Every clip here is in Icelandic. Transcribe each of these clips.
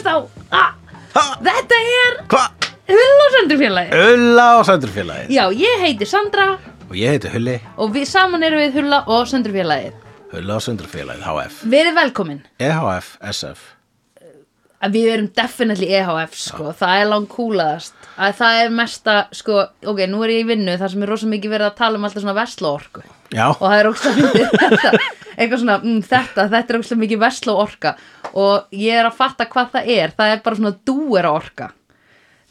sko. ah, Ha? Þetta er Hva? Hull og Söndrufélagi Ulla og Söndrufélagið Já, ég heiti Sandra Og ég heiti Hulli, og við saman erum við Hulla og Söndrufélagi Ulla og Söndrufélagið, E HF Verið velkomin EHF, SF að Við erum definitely EHF sko. Það er langt kúlaðast að Það er mesta, sko, ok, nú er ég í vinnu þar sem er rosa mikið verið að tala um alltaf svona vesla Já, og það er ógstlega mikið þetta eitthvað svona, mm, þetta, þetta er ógstlega mikið vesla orka og ég er að fatta hvað það er, það er bara svona dúera orka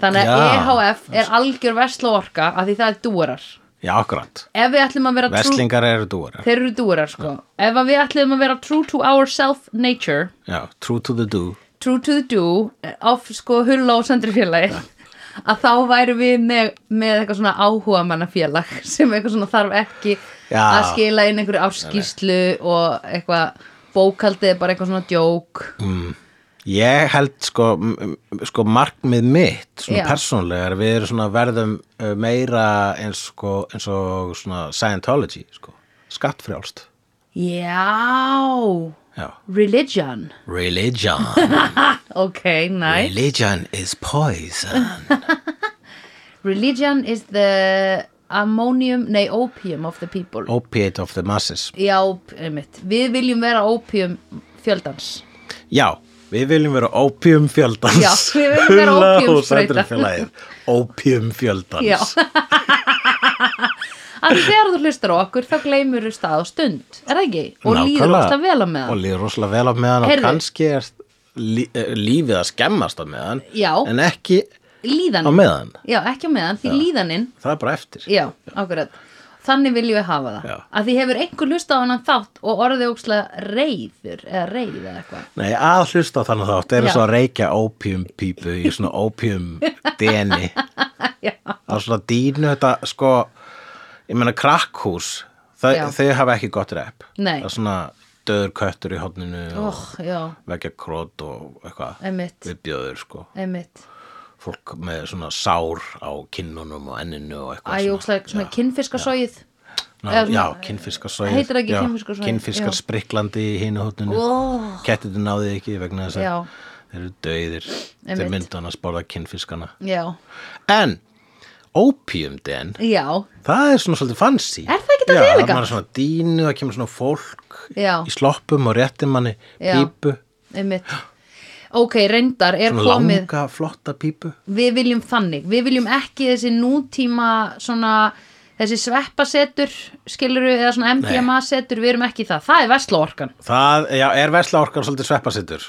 þannig að Já. EHF er algjör vesla orka af því það er dúerar já, akkurat ef við ætlum að vera trú, Veslingar eru dúar þeir eru dúerar sko ef að við ætlum að vera true to our self nature Já, true to the do true to the do á sko hulla og sendrifélagi að þá væru við með, með eitthvað svona áhuga mannafélag sem eitthvað svona þarf ekki Já. að skila inn einhverju afskýslu og eitthvað bókaldið er bara eitthvað svona djók Ég held sko, m- m- sko markmið mitt svona Já. persónlega er að við erum svona verðum uh, meira eins, sko, eins og svona Scientology sko. skattfrjálst Já, Já. religion Religion Ok, nice Religion is poison Religion is the ammonium, nei opium of the people Opiate of the masses Já, einmitt, við viljum vera opium fjöldans Já, við viljum vera opium fjöldans Já, við viljum vera ópíumsprauta. Opium fjöldans Já Af því þegar þú hlustar á okkur þá gleymur þú stað og stund, er það ekki? Og líður Nákvæmlega. ógst að vela með Og það líður rosalega vel á meðan Heyrðu. og kannski er lí, eh, lífið að skemmast á meðan Já. en ekki á Líðan, meðan já ekki á meðan, því líðaninn það er bara eftir Já, akkurat Þannig viljum við hafa það Já. Að því hefur einhver hlustað á hann þátt og orðið ógstlega reyður eða reyð eða eitthvað Nei, að hlusta á þannig þátt er Já. svo að reykja opium pípu í svona opium deni Já, á svona dínu þetta sko ég meina krakkhús Já. þau, þau hafa ekki gott rep Nei. það er svona döður köttur í hodninu óh, já, og vekja krót og eitthvað einmitt, viðbjöður sko einmitt fólk með svona sár á kinnunum og enninu og eitthvað Æ, ógstlega svona kinnfiskasóið Ná, Eða svona- já, kinnfiskarsvæð Heitir það ekki kinnfiskarsvæð? Kinnfiskar Já. spriklandi í hinu hóttunni Ó. Kettirnir náði ekki vegna þess Já. að þeir eru dauðir Einmitt. Þeir myndu hann að spáða kinnfiskana Já, En, opiumden já, Það er svona svolítið fancy Er það ekki dálítið Já, það elegant? maður er svona dínu, það kemur svona fólk Já. Í sloppum og réttir manni Já. pípu einmitt Ok, reyndar er Svona komið langa, flotta pípu við viljum þannig, við viljum ekki þessi nútíma svona þessi sveppasetur, skiluru eða svona MDMA setur, við erum ekki það það er veslaorkan, Það, já, er vesla orkar svolítið sveppasittur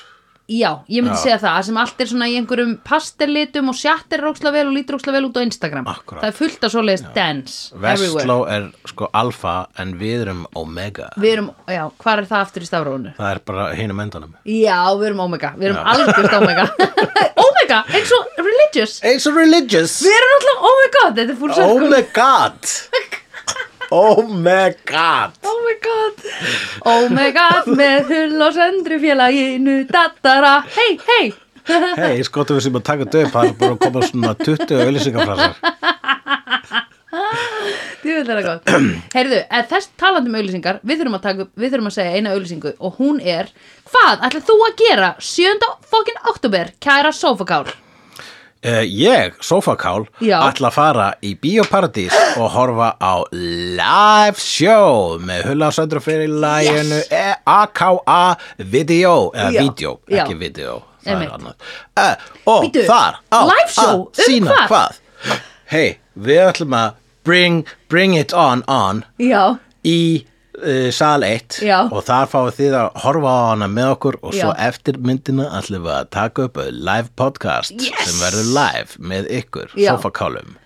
já, ég myndi Já. segja það sem allt er svona í einhverjum pastellitum og sjattir róksla vel og lítur róksla vel út á Instagram Akkúrat. það er fullt af svoleiðis dance everywhere, Vestló er sko alfa en við erum omega við erum, já, hvað er það aftur í stafrónu? Það er bara hinum endanum Já, við erum omega, við erum algjörst omega omega, eins og religious It's religious við erum alltaf, oh my god, þetta er full circle Oh my god Oh my god Oh my god Oh my god með hull og söndru félaginu Dattara, hei, hei Hei, ég skotum við sem að taka döp Það er bara að koma svona 20 auðlýsingafrasar Þið veit það gott Heyrðu, en þess talandi um auglýsingar við þurfum, að taka, upp- við þurfum að segja eina auglýsingu og hún er Hvað ætlað þú að gera 7. fokkin oktober kæra sofakál uh, Ég, Sofakál Já. ætla að fara í Bíóparadís og horfa á live show með Hulla og Söndru fyrir E læginu Yes. E-A-K-A Video eða Já. video, Já. ekki video Það Einmitt. er annað uh, Og Bíddu, þar á live show, að um sýna hvað? hvað? Hei, við ætlum að bring, bring it on on Já, í uh, sal 1 Já. og þar fáið þið að horfa á hana með okkur og svo Já. eftir myndina ætlum við að taka upp live podcast Yes! sem verður live með ykkur Já. sofakálum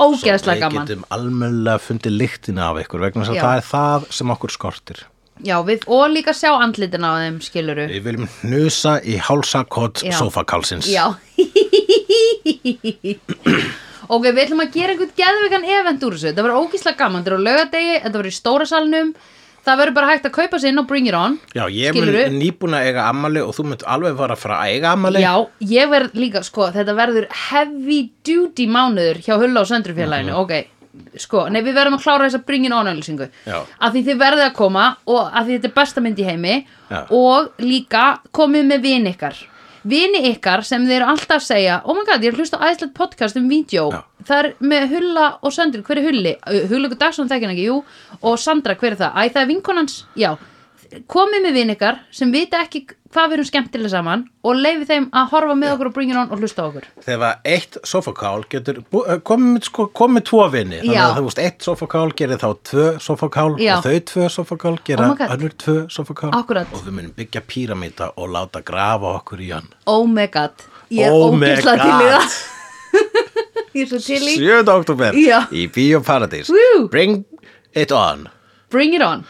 ógeðslega við gaman getum almennilega fundið lyktina af ykkur vegna þess Já. að það er það sem okkur skortir Já, við og líka sjá andlitin á þeim skiluru við viljum hnusa í hálsakot Já. sofakálsins Já Ok, við ætlum að gera einhvern geðveikan event úr þessu Það verður ógíslega gaman, þetta verður á laugardegi Þetta verður í stóra salnum Það verður bara hægt að kaupa sér inn og bring it on Já, ég mun Skilurðu? nýbúin að eiga ammali og þú munt alveg fara að fara að eiga ammali Já, ég verð líka, sko, þetta verður heavy duty mánuður hjá Hulla og Söndrufélaginu, Mhm. ok, sko, nei, við verðum að klára þessa bringin ánæglinsingu, Já. af því þið verðið að koma og af því þetta er besta mynd í heimi Já. og líka komið með vin ykkar, vini ykkar sem þeir eru alltaf að segja oh my god, ég er að hlusta á æðislegt podcast um vídeo Já. það er með Hulla og Söndri hver er Hulli? Uh, Hullegu Dagsson þekkin ekki, jú og Sandra, hver er það? Æ, það er vinkonans já, komið með vini ykkar sem vita ekki hvað við erum skemmtilega saman og leifi þeim að horfa með okkur og bringin on og hlusta á okkur Þegar eitt sofakál getur bú- eh, komið með sko, komi tvo vini þannig Já. að þú veist, eitt sofakál gerir þá tvö sofakál Já. og þau tvö sofakál gera Oh my God. önnur tvö sofakál Akkúrat. og við munum byggja píramíta og láta grafa okkur í hann oh my god, ég er Oh my ógeðslega til í God. það ég er svo til í 7. oktober Já. í Bíóparadís Woo. Bring it on bring it on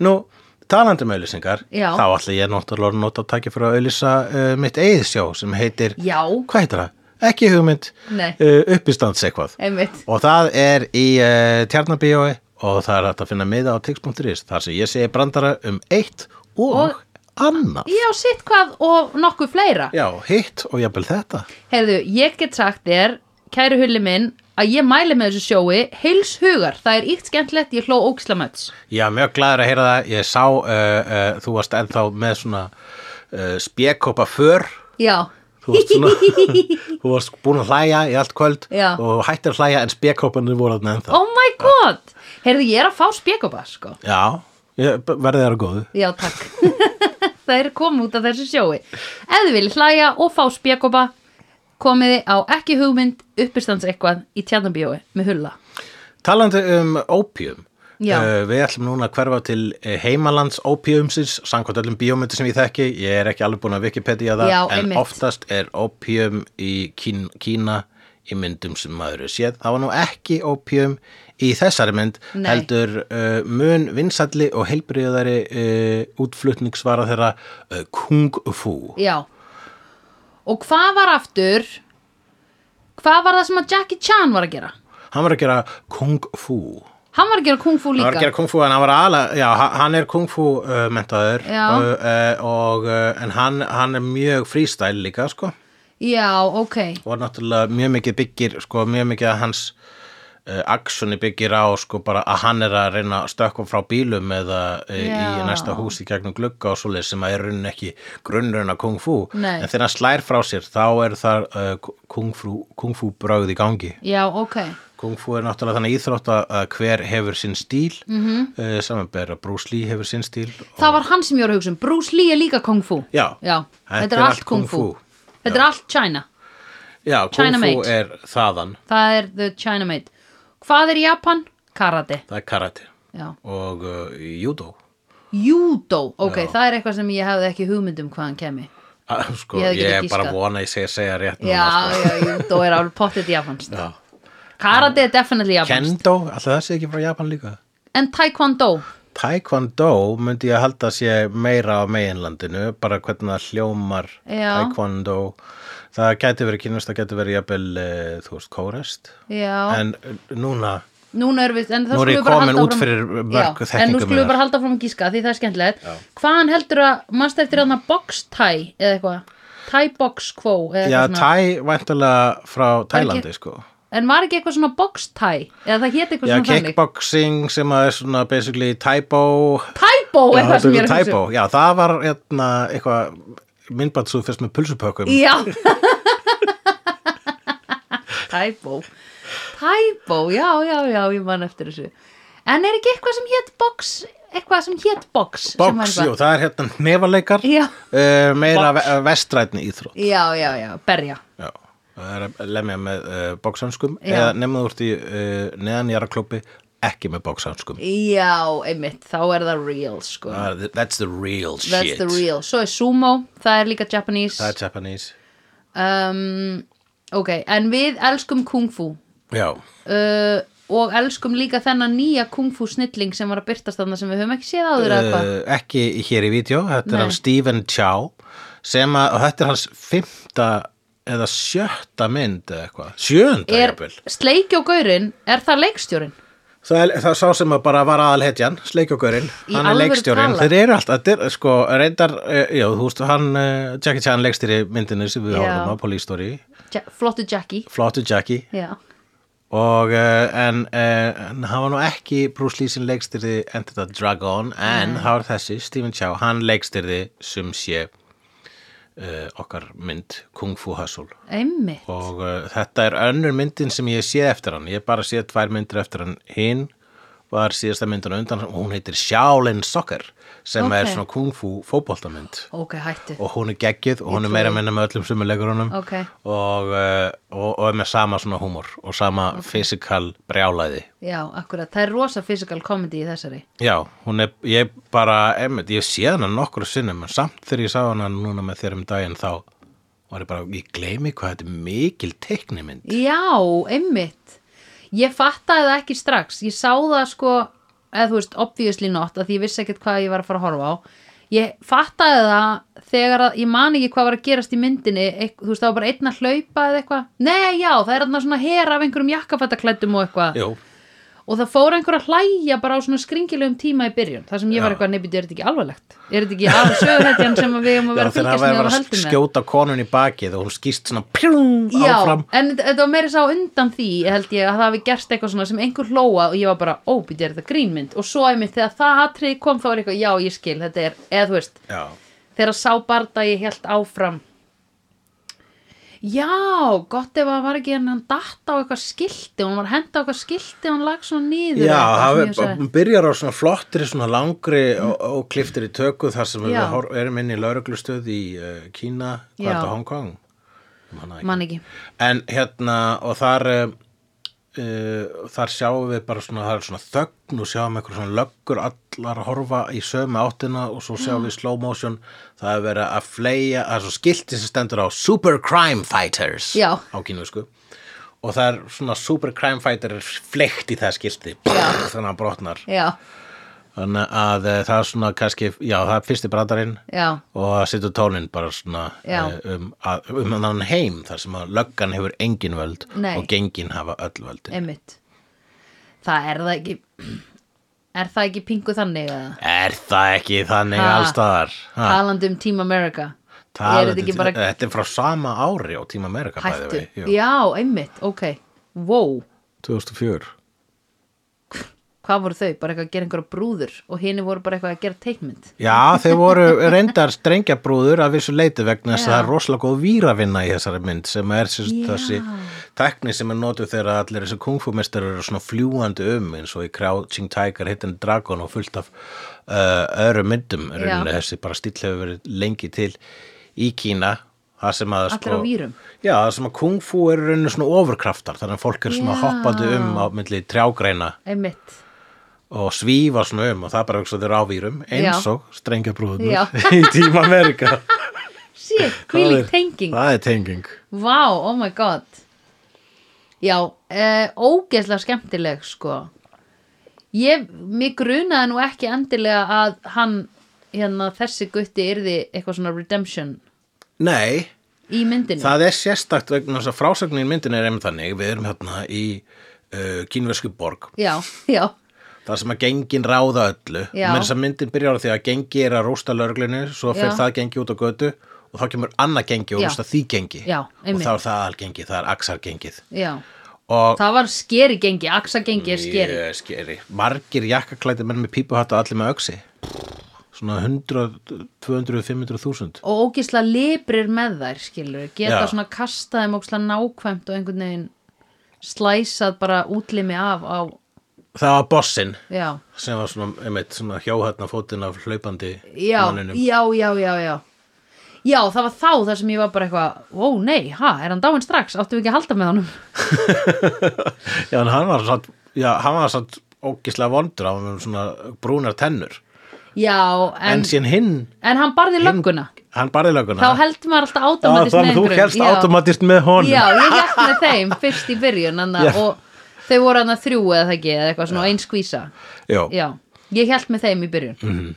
Nú, talandi um auðlýsingar Já. þá ætla ég náttúrulega að nota að takja fyrir að auðlýsa uh, mitt eigið sjó sem heitir Já. hvað heitir það? Ekki hugmynd Nei. uh, uppistands eitthvað einmitt, og það er í uh, Tjarnabíói og það er hægt að finna miða á tix.is þar sem ég segi brandara um eitt og, Og- annað já, sitt hvað og nokkuð fleira Já, hitt og jafnvel þetta Heyrðu, ég get sagt þér, kæru hulli minn, að ég mæli með þessu sjói heils hugar. Það er íkt skemmtilegt, ég hló ókslamöts. Já, mjög glæður að heyra það ég sá, uh, uh, þú varst ennþá með svona uh, spjekkópa för Já, þú varst, svona, þú varst búin að hlæja í allt kvöld Já. og hættir að hlæja en spjekkópanir voru þarna ennþá oh my god! Heyrðu, ég er að fá spjekopa, sko. Já, ég, verði þér að góðu Já, takk. það er komið út af þessu sjói. Ef þið viljið hlæja og fá spjekopa, komiði á ekki hugmynd uppistands eitthvað í tjarnabíói með hulla. Talandi um ópíum Já. Eh, Við ætlum núna að hverfa til eh, heimalands ópíumsins, samkvæmt öllum bíómyndir sem ég þekki, ég er ekki alveg búin að Wikipedia það, Já, en einmitt. oftast er ópíum í kín, Kína í myndum sem maður er séð. Það var nú ekki ópíum í þessari mynd, Nei. heldur uh, mun vinsalli og heilbriðari uh, útflutningsvara þeirra uh, Kung Fu. Já. Og hvað var aftur, hvað var það sem að Jackie Chan var að gera? Hann var að gera Kung Fu. Hann var að gera kung fu líka. Hann var að gera kung fu en hann var ala, já, ha- hann er kung fu uh, mentaður Já. uh, uh, og, uh, en hann, hann er mjög freestyle líka sko Já, ok. og náttúrulega mjög mikið byggir sko mjög mikið að hans uh, aksjoni byggir á sko bara að hann er að reyna að stökkva frá bílum eða uh, Já. í næsta hús í gegnum glugga og svoleið sem að er raunin ekki grunnruna kung fu Nei. en þegar hann slær frá sér þá er það uh, kung, fu, kung fu brögð í gangi Já, ok. Kung Fu er náttúrulega þannig íþrótt að að hver hefur sinn stíl mm -hmm. Mhm. uh, samanbera Bruce Lee hefur sinn stíl og, Það var hann sem ég var að hugsa um. Bruce Lee er líka kung fu. Já. Já, Þetta þetta, er er allt allt kung fu. kung fu. Þetta er allt China. Já, Kung China Fu made. er þaðan, Það er the China made. Hvað er Japan? Karate. það er karate Já. og uh, judo Judo. Ok, það er eitthvað sem ég hefði ekki hugmynd um hvaðan kemi. Ah, sko, Ég hefði ég, getað er bara giskað. vona að ég segja, segja rétt Já, núna, sko. já, judo er alveg pottet japanskt. Já. Karate er definitely japanskt. Kendo, alltaf það sé ekki frá Japan líka En taekwondo. Taekwondo myndi ég að halda að sé meira á meginlandinu, bara hvernig það hljómar Já. Taekwondo það gæti verið kynast, það gæti verið jafnvel, uh, þú veist, kórest Já, en uh, núna núna erum við en það Nú skulum er ég við bara komin halda út áfram- fyrir Já, En mörg nú þekkingu skulum við minnar. bara halda fram að gíska því það er skemmtilegt Hvaðan heldur að, mannst eftir þarna box tie eða eitthvað Tie box quo eða Já, eitthvað svona Thai væntalega frá Tælandi ekki- sko En var ekki eitthvað svona box tie eða það hétt eitthvað Já, svona þannig kickboxing sem að er svona basically taibo Taibo Já, eitthvað sem ég er að hugsa taibo. um. Já, það var hérna, eitthvað myndbandsúð fyrst með pulsupökum Já Taibo Taibo, já, já, já, ég man eftir þessu En er ekki eitthvað sem hétt box eitthvað sem hétt box sem var Box, eitthvað- jú, það er hérna nefaleikar Já. uh, meira ve vestrætni íþrótt Já, já, já, berja Já, það er að lemja með uh, boxhanskum Já. eða nema þú ert í uh, neðanjara klubbi ekki með boxhanskum Já, einmitt, þá er það real sko Það er- That's the real That's Ah, shit the real. Svo er sumo, það er líka Japanese. Það er Japanese um, ok, en við elskum kung fu Já, uh, og elskum líka þennan nýja kung fu snilling sem var að byrtast þarna sem við höfum ekki séð áður eða hvað. uh, ekki hér í vídeo, þetta er Nei. hann Stephen Chow sem að, og þetta er hans fymta eða sjötta mynd eða eitthvað, sjönda Er jafnvel sleiki og gaurinn, er það leikstjórin? það er, það er sá sem að bara var aðalhetjan sleikjókurinn, Í hann er alvöru leikstjórinn talað? þeir eru allt, þetta er sko reyndar, uh, já, þú veist, hann uh, Jackie Chan leikstýri myndinu sem við Já. horfum á Police Story, Ja, flottu Jackie. flottu Jackie Já. og uh, en, uh, en hann var nú ekki Bruce Lee sem leikstyrði Enter the Dragon en það var þessi, Stephen Chow, hann leikstyrði sem sé uh, okkar mynd Kung Fu Hustle einmitt og uh, þetta er önnur myndin sem ég sé eftir hann ég hef bara sé tvær myndir eftir hann hinn var síðasta myndin á undan og hún heitir Shaolin Soccer sem Ok. er svona kung fu fótboltamynd ok, hættu og hún er geggjuð og hún er trúi meira að minna með öllum sem er leikur honum Ok. og, uh, og, og er með sama svona húmor og sama okay. fysikal brjálæði já, akkurat, það er rosa physical comedy í þessari Já, hún er, ég bara, einmitt, ég sé hana nokkru sinnum, en samt þegar ég sá hana núna með þér um daginn þá var ég bara, ég gleymi hvað þetta er mikil teiknimynd. já, einmitt ég fattaði það ekki strax ég sá það sko, eða þú veist obviously not, að því ég vissi ekkert hvað ég var að fara að horfa á ég fattaði það þegar að, ég man ekki hvað var að gerast í myndinni eitth, þú veist, það var bara einn að hlaupa eða eitthvað, nei, já, það er þarna svona her af einhverjum jakkafættaklæddum og eitthvað Jú, og það fór einhver að hlæja bara á svona skringilegum tíma í byrjun þar sem ég var Já. eitthvað neybið, er þetta ekki alvarlegt er þetta ekki alveg sögurhetjan sem að við erum að já vera að þegar fylgjast það með var og að höldum með skjóta konun í bakið og hún skýst svona pjúm Já, áfram. en þetta- þetta var meira sá undan því held ég að það hafi gerst eitthvað svona sem einhver hlóa og ég var bara, ó, býtti, er þetta grínmynd og svo einmitt þegar það atrið kom þá var ég eitthvað, já, ég skil, þetta er, eða þú veist Já, þegar sá barða ég held áfram Já, gott ef að var ekki en hann datt á eitthvað skilti, hún var að henda á eitthvað skilti og hann lag svona niður já eitthvað, það sem ég er- hugsaði- hún byrjar á svona flottri, svona langri og, og kliftir í töku þar sem Já. við hor- erum inn í lauruglustöð í uh, Kína, hvað Já. er þetta, Hong Kong? Ég man það ekki. man ekki En hérna, og þar uh, þar sjáum við bara svona, það er svona þögn og sjáum eitthvað svona löggur allar að horfa í sömu áttina og svo sjáum við slow motion það er verið að fleia, það er svo skilti sem stendur á Super Crime Fighters Já. á kínusku og það er svona Super Crime Fighter er fleikt í það skilti þannig að hann brotnar Já, þannig að eh, það er svona kannski, já það er fyrsti brandarinn já, og það setur tónin bara svona Já. eh, um, að, um þann heim þar sem að löggan hefur engin völd Nei. og gengin hafa öll völdin einmitt Það er það ekki Er það ekki pingu þannig að er það ekki þannig Ha. alls staðar Ha. talandi um Team America Er þetta Talandi- um ekki bara þetta er frá sama ári á Tíma Amerika hættu? við, Já, einmitt, ok Wow, 2004 hvað voru þau? Bara eitthvað að gera einhverja brúður og hini voru bara eitthvað að gera teikmynd Já, þeir voru reyndar strengjabrúður af vissu leiti vegna þess Já. að það er rosalega góð víravinna í þessari mynd sem er sérst, Já. þessi tekni sem er notuð þegar allir þessi kungfúmestar eru svona fljúandi um eins og í Crouching Tiger, Hidden Dragon og fullt af uh, öðrum myndum Já. rauninni þessi bara stíll hefur verið lengi til í Kína það sem að sko- Allir á vírum. Já, það sem að kungfú eru rauninni svona ofurkraftar þannig að fólk er svona Já. hoppandi um á milli trjágreina Einmitt, og svífa svona um og það er bara þeir á vírum eins Já. og Já. strengjabrúðunar í tíma Amerika sík, Það hvílík er- tenging það er tenging Vá, oh my god Já, uh, ógeðslega skemmtileg sko Ég, mér grunaði nú ekki endilega að hann, hérna þessi gutti yrði eitthvað svona redemption nei, í myndinu það er sérstakt vegna þess að frásögnin í myndin er einmitt þannig við erum hérna í uh, kínversku borg Já, já, Það sem að gengin ráða öllu Já. menn þess að myndin byrjar á því að gengi er að rústa lögreglunni, svo fer Já. það gengi út á götu og þá kemur annað gengi og Já. rústa því gengi Já, og einmitt. þá er það algengi, það er axargengið já og Það var skeri gengi, axagengi er skeri Mjög skeri. Margir jakkaklæti menn með pípuhatt og allir með öksi. Svona 100, 200, 500 þúsund. Og ógeðslega librir með þær, skilur Geta Já. svona kastaðum ógeðslega nákvæmt og einhvern veginn slæsað bara útlimi af á, Það var bossinn já sem var svona, einmitt, svona hjáhætna fótinn af hlaupandi já, manninum. já, já, já, já Já, það var þá þar sem ég var bara eitthvað Ó, nei, ha, er hann dáinn strax? Áttum við ekki að halda með honum? Já, en hann var satt, já, hann var satt ógislega vondur, hann var með svona brúnar tennur. Já, en, En, síðan hinn, en hann barði lögguna hann barði Þá löguna. held maður alltaf Já, automatist þannig þú helst automatist með honum. Já, ég held með þeim fyrst í byrjun anna, Já. Og þau voru hann að þrjú eða það ekki Eða eitthvað svona ein skvísa Já, Já, ég held með þeim í byrjun mhm.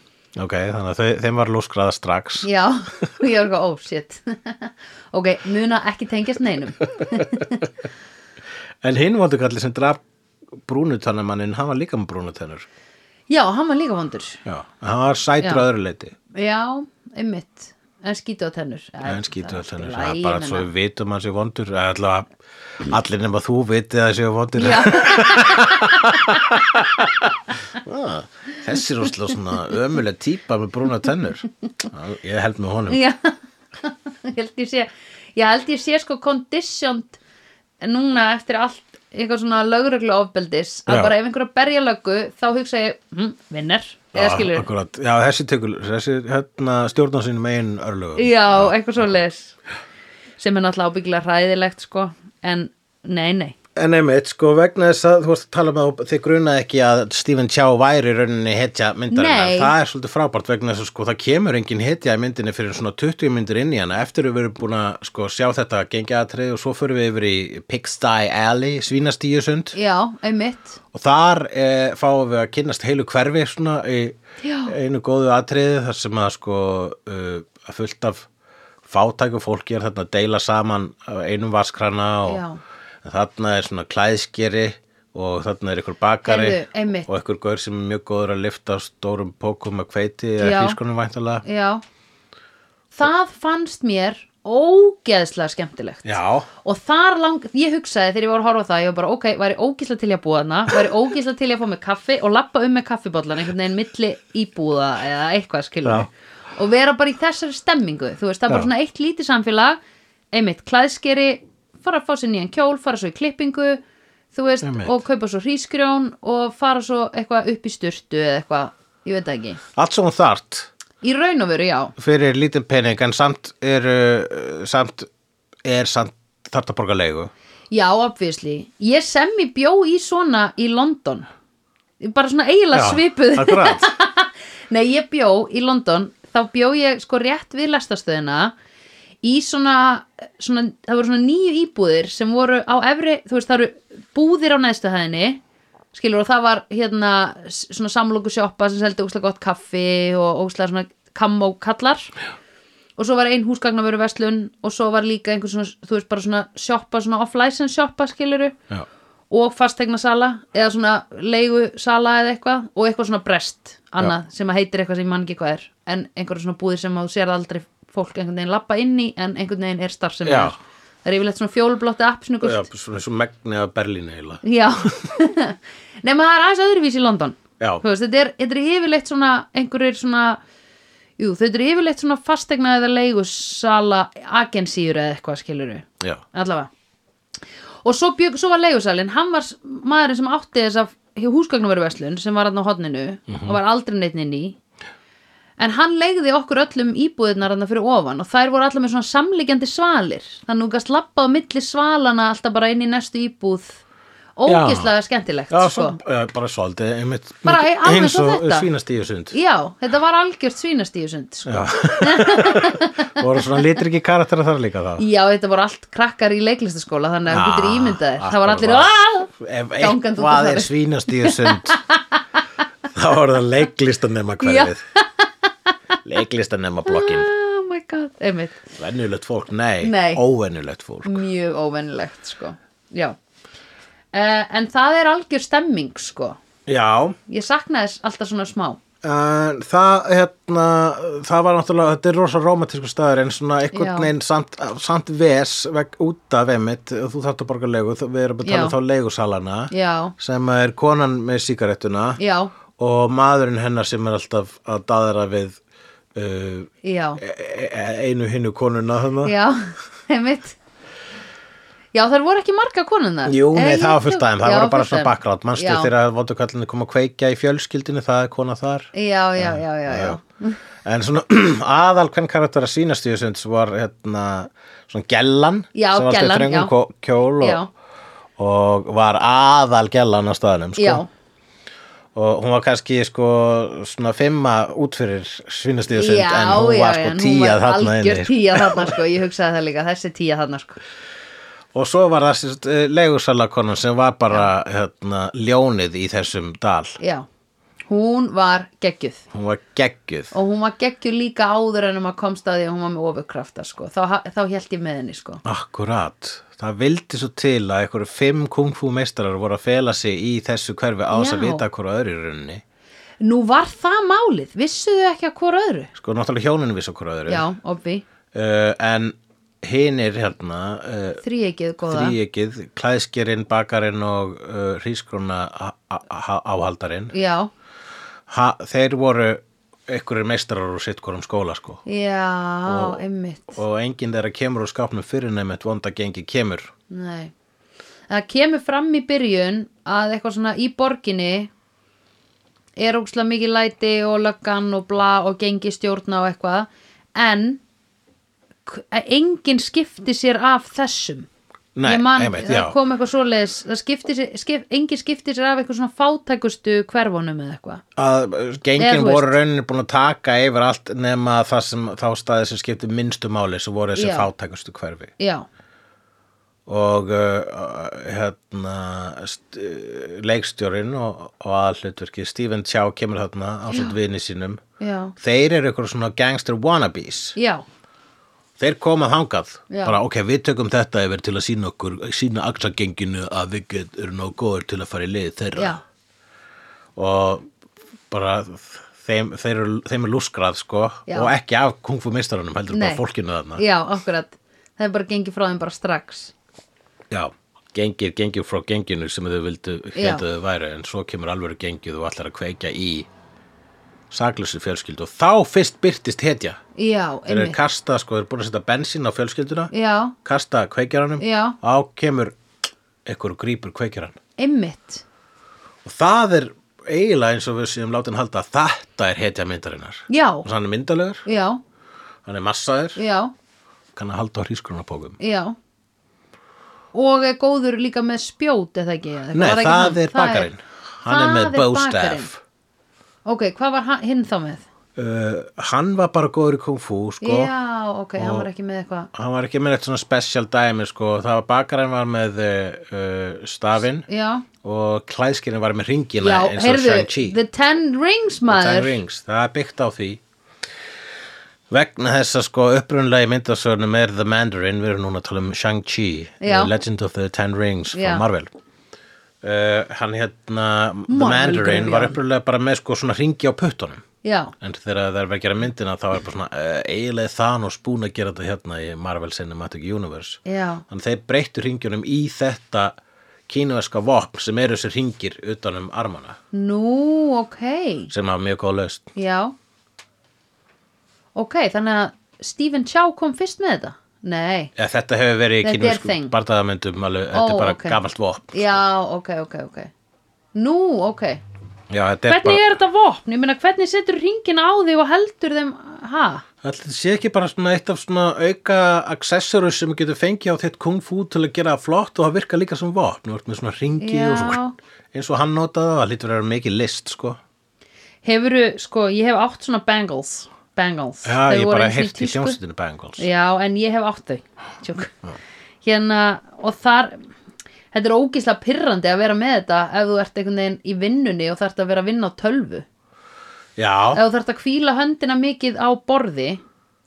ok, þannig að þau, þeim var lúskraða strax. Já, og ég var eitthvað, ó, shit Ok, muna ekki tengjast neinum En hinn vondur kallið sem draf brúnutannamannin, hann var líka með brúnutennur. Já, hann var líka vondur Já, hann var sætur að Já. öðru leiti Já, einmitt En skýtu á tennur Æ, en skýtur það alltaf er allt í henni það er lagi, bara ég svo meina. við vitum að sé vondur eða allavega allir nema þú vitið að sé vondur Já, ah, sko. þessi rústlega svona ömuleg típa með brúna tennur Já, ég held með honum já, ég held ég sé ég held ég sé sko conditioned núna eftir allt eitthvað svona lögreglu ofbeldis að Já. bara ef einhverja berja löggu þá hugsa ég hm, vinnar, eða Já, skilur akkurat. Já, þessi tekur, þessi hérna stjórnar sínum eigin örlögum. já, eitthvað svo leis sem er náttúrulega ábyggilega hræðilegt sko en nei, nei En einmitt, sko, vegna þess að þú varst að tala með að þið grunaði ekki að Stephen Chow væri í rauninni hetja myndarinnar. Nei. Það er svolítið frábært vegna þess að sko, það kemur engin hetja í myndinni fyrir svona 20 myndir inn í hana. Eftir við erum búin að sko, sjá þetta gengjaðatrið og svo förum við yfir í Pigsty Alley, Svínastíðusund já, einmitt og þar e, fáum við að kynnast heilu hverfi svona í Já. einu góðu atriði þar sem að sko uh, fullt af fátæku fólki er þarna að deila saman af einum vaskrana og Já. þarna er svona klæðskeri og þarna er ykkur bakari Heyrðu, einmitt. og ykkur gaur sem er mjög góður að lyfta stórum pókum með hveiti Já. eða fískunum væntalega já það fannst mér ógeðslega skemmtilegt Já, og þar lang, ég hugsaði þegar ég var að horfa á það ég var bara ok, væri ógísla til ég að búa þarna væri ógísla til ég að fá með kaffi og lappa um með kaffibollan einhvern veginn milli íbúða eða eitthvað skilur Já. og vera bara í þessari stemmingu þú veist, það er bara Já. svona eitt lítið samfélag einmitt klæðskeri, fara að fá sér nýjan kjól fara svo í klippingu þú veist, Einmitt. og kaupa svo hrísgrjón og fara svo eitthvað upp í styrtu eða eitthvað, ég veit það ekki allt sem hún þart í raun og veru, já, fyrir lítið pening en samt er uh, samt, er samt þart að borga leigu Já, obviously. Ég semmi bjó í svona í London. Bara svona eiginlega svipuð. Akkurat Nei, ég bjó í London, þá bjó ég sko rétt við lestastöðina í svona, svona það voru svona nýju íbúðir sem voru á efri, þú veist, það eru búðir á neðstöðhæðinni, skilur, og það var hérna s- svona samlóku sjoppa sem seldi óslega gott kaffi og óslega svona kammókallar og svo var ein húsgagnavöru verslun og svo var líka einhver svona, þú veist, bara svona sjoppa, svona off-license sjoppa, skiluru Já. og fastegnasala eða svona leigusala eða eitthvað og eitthvað svona brest annað sem að heitir eitthvað sem ég man ekki hvað er en einhverja svona búðir sem að þú sér aldrei fólk einhvern veginn lappa inn í en einhvern veginn er starf sem Já. er það er yfirleitt svona fjólblótti appisnugust Já, já, svona eins og megni af Berlín eiginlega. já. nema það er aðeins öðruvísi í London Já. Þú veist, þetta, er, þetta er yfirleitt svona einhverjir svona jú, þetta er yfirleitt svona fastegna eða leigusala agensýur eða eitthvað skiluru Já. allavega og svo, bjög, svo var leigusalinn, hann var s- maðurinn sem átti þess að húsgagnumveruverslun sem var hann á hodninu og var aldrei neitt inn í en hann leigði okkur öllum íbúðirnar hann fyrir ofan og þær voru allar með svona samlíkjandi svalir þannig að þú gast lappað á milli svalana alltaf bara inn í næstu íbúð ógislega skemmtilegt Já, sko. svo, eh, bara svolítið, einmitt, Bara mikið- ei- alveg eins svo og þetta. svínastíðusund. já, þetta var algjört svínastíðusund sko. Já. Voru svona litriki karakterar þar líka þá. já, þetta voru allt krakkar í leiklistaskóla þannig að þú getur ímyndaðir það var allir "Ah!" Ef gangandi út eitthvað á er þar. svínastíðusund, þá voru það leiklistanema hverfið. leiklistanema blokkin. oh my god, einmitt Venjulegt fólk, nei, Nei. óvenjulegt fólk. mjög óvennilegt sko já uh, en það er algjör stemming sko Já, ég sakna þess alltaf svona smá En það, hérna, það var náttúrulega, þetta er rosa rómatísku staður en svona Já. einhvern veginn samt, samt ves veg, út af emitt og þú þarft að borga leigu, þú- við erum að Já. tala um þá leigusalana já, sem er konan með sígarettuna já, og maðurinn hennar sem er alltaf að daðra við uh, já e- e- einu hinnu konuna þannig. já, einmitt já, þar voru ekki Eh, marga konunar Jú, nei, það var fullt aðeim, það voru bara svona bakgrátt, manstu já, þegar vondukallinni kom að kveikja í fjölskyldinu, það er kona þar. já, já, já, já, já. En svona aðal hvern karakter að sýnast í þessu var hérna svona gellan Já, sem var alltaf í gellan, já. þröngum kó- kjól Já. og, og var aðal gellan á staðanum sko. já. og hún var kannski sko svona fimma út fyrir svinast í þessu Já, en hún já, já, var sko en hún tíja var þarna algjör inni sko. tíja þarna sko, ég hugsaði það líka, þessi tíja þarna sko og svo var það sérst, leigursalakonan sem var bara hérna, ljónið í þessum dal já, hún var geggjuð hún var geggjuð og hún var geggjur líka áður en maður komst að því að hún var með ofurkrafta sko. þá, þá held ég með henni sko. Akkurat, það vildi svo til að einhverju fimm kungfú meistarar voru að fela sig í þessu hverfi á þess að Já. vita hverju öðru í rauninni. nú var það málið, vissuðu ekki að hvora öðru Sko, náttúrulega hjónunum vissu hverju öðru. já, obvi, Uh, en hinir hérna, uh, þrýegið góða þrýegið, klæðskerinn, bakarinn og uh, hrískrona áhaldarinn, já, ha, þeir voru einhverjir meistarar og sitt hvorum skóla sko já, Og- einmitt og enginn þeirra kemur úr skápnum fyrir nefnt vonda gengi kemur Nei. Það kemur fram í byrjun að eitthvað svona í borginni er ókslega mikið læti og löggan og bla og gengi stjórna og eitthvað en k- enginn skipti sér af þessum Nei, Ég man, einmitt, það já. kom eitthvað svoleiðis það skipti sér, skip, enginn skipti sér af eitthvað svona fátækustu hverfunum eða eitthvað að Eða gengin þú voru rauninni búin að taka yfir allt nema það sem þá staðið sem skipti minnstu máli sem voru þessi Já. fátækustu hverfi já, og uh, hérna st- uh, leikstjórinn og, og aðhlutverki Stephen Chow kemur þarna á svo vini sínum já, þeir eru eitthvað svona gangster wannabes já þeir koma þangað Já. bara ok, við tökum þetta yfir til að sína okkur sína aksagenginu að við get- erum nóg góður til að fara í lið þeirra já, og bara þeim, þeir, eru- þeim er lúskrað sko Já. og ekki af kungfu mistarunum heldur Nei. bara fólkinu þarna já, akkurat það er bara gengið frá þeim bara strax Já, gengið, gengið frá genginu sem þau vildu Já. hérna þau væri en svo kemur alvöru gengið og allar að kveikja í saklösu fjölskyldu og þá fyrst byrtist hetja já, þeir eru einmitt, kasta sko, þeir eru búin að setja bensín á fjölskylduna já, kasta kveikjaranum Já. á kemur ekkur og grípur kveikjaran einmitt og það er eiginlega eins og við séum látin halda að þetta er hetja myndarinnar Já, og hann er myndalegur já, hann er massaður, já, kann að halda á hrísgrunapókum já og er góður líka með spjót eða ekki, eða Nei, var það, ekki hann? er bakarinn Hann er það með bakarinn. bóstaf Ok, hvað var hann- hinn þá með? uh, Hann var bara góður í kung fu sko. Já, ok, hann var ekki með eitthvað Hann var ekki með eitt svona special dæmi sko. Það var bakarinn var með uh, uh, stafinn Já, og klæðskirinn var með ringina já, eins og heyrðu, Shang-Chi The Ten Rings Ten maður Rings, það er byggt á því vegna þess að sko upprunlega í myndasögnum er The Mandarin við erum núna að tala um Shang-Chi Já. The Legend of the Ten Rings frá Já. Marvel uh, hann hérna The Marvel, Mandarin var já. upprunlega bara með sko svona ringi á puttunum Já, en þegar það er verið að gera myndina þá er bara svona uh, eiginlega Thanos búin að gera þetta hérna í Marvel Cinematic Universe já, þannig þeir breyttu ringjunum í þetta kínuverska vopn sem eru þessi ringir utanum um armana nú, ok sem hafa mjög góð löst Já Ok, þannig að Stephen Chow kom fyrst með þetta? Nei, Ja, þetta hefur verið í Þetta er kínversku thing. bardaðamyndum alveg, þetta Ó, er bara ok. gamalt vopn. já, ok, ok, ok Nú, ok Já, þetta er Hvernig bara, er þetta vopn? Ég meina, hvernig setur ringina á þig og heldur þeim, ha? ætli þetta sé ekki bara svona eitt af svona auka accessories sem þú getur fengið á þitt kung fu til að gera það flott og það virka líka sem vopn, þú ert með svona ringi Já. og svona, eins og hann notaði það, það lítur að vera mikið list, sko. Hefurðu, sko, ég hef átt svona bangles, bangles. Já, Þau ég voru bara einu sinni heyrt í tísku. hljómsveitinu Bengals. Já, en ég hef átt þau, tjók. Hérna, og þar, þetta er ógislega pirrandi að vera með þetta ef þú ert einhvern veginn í vinnunni og þarft að vera að vinna á tölvu. Ef Já, þú þarft að hvíla höndina mikið á borði,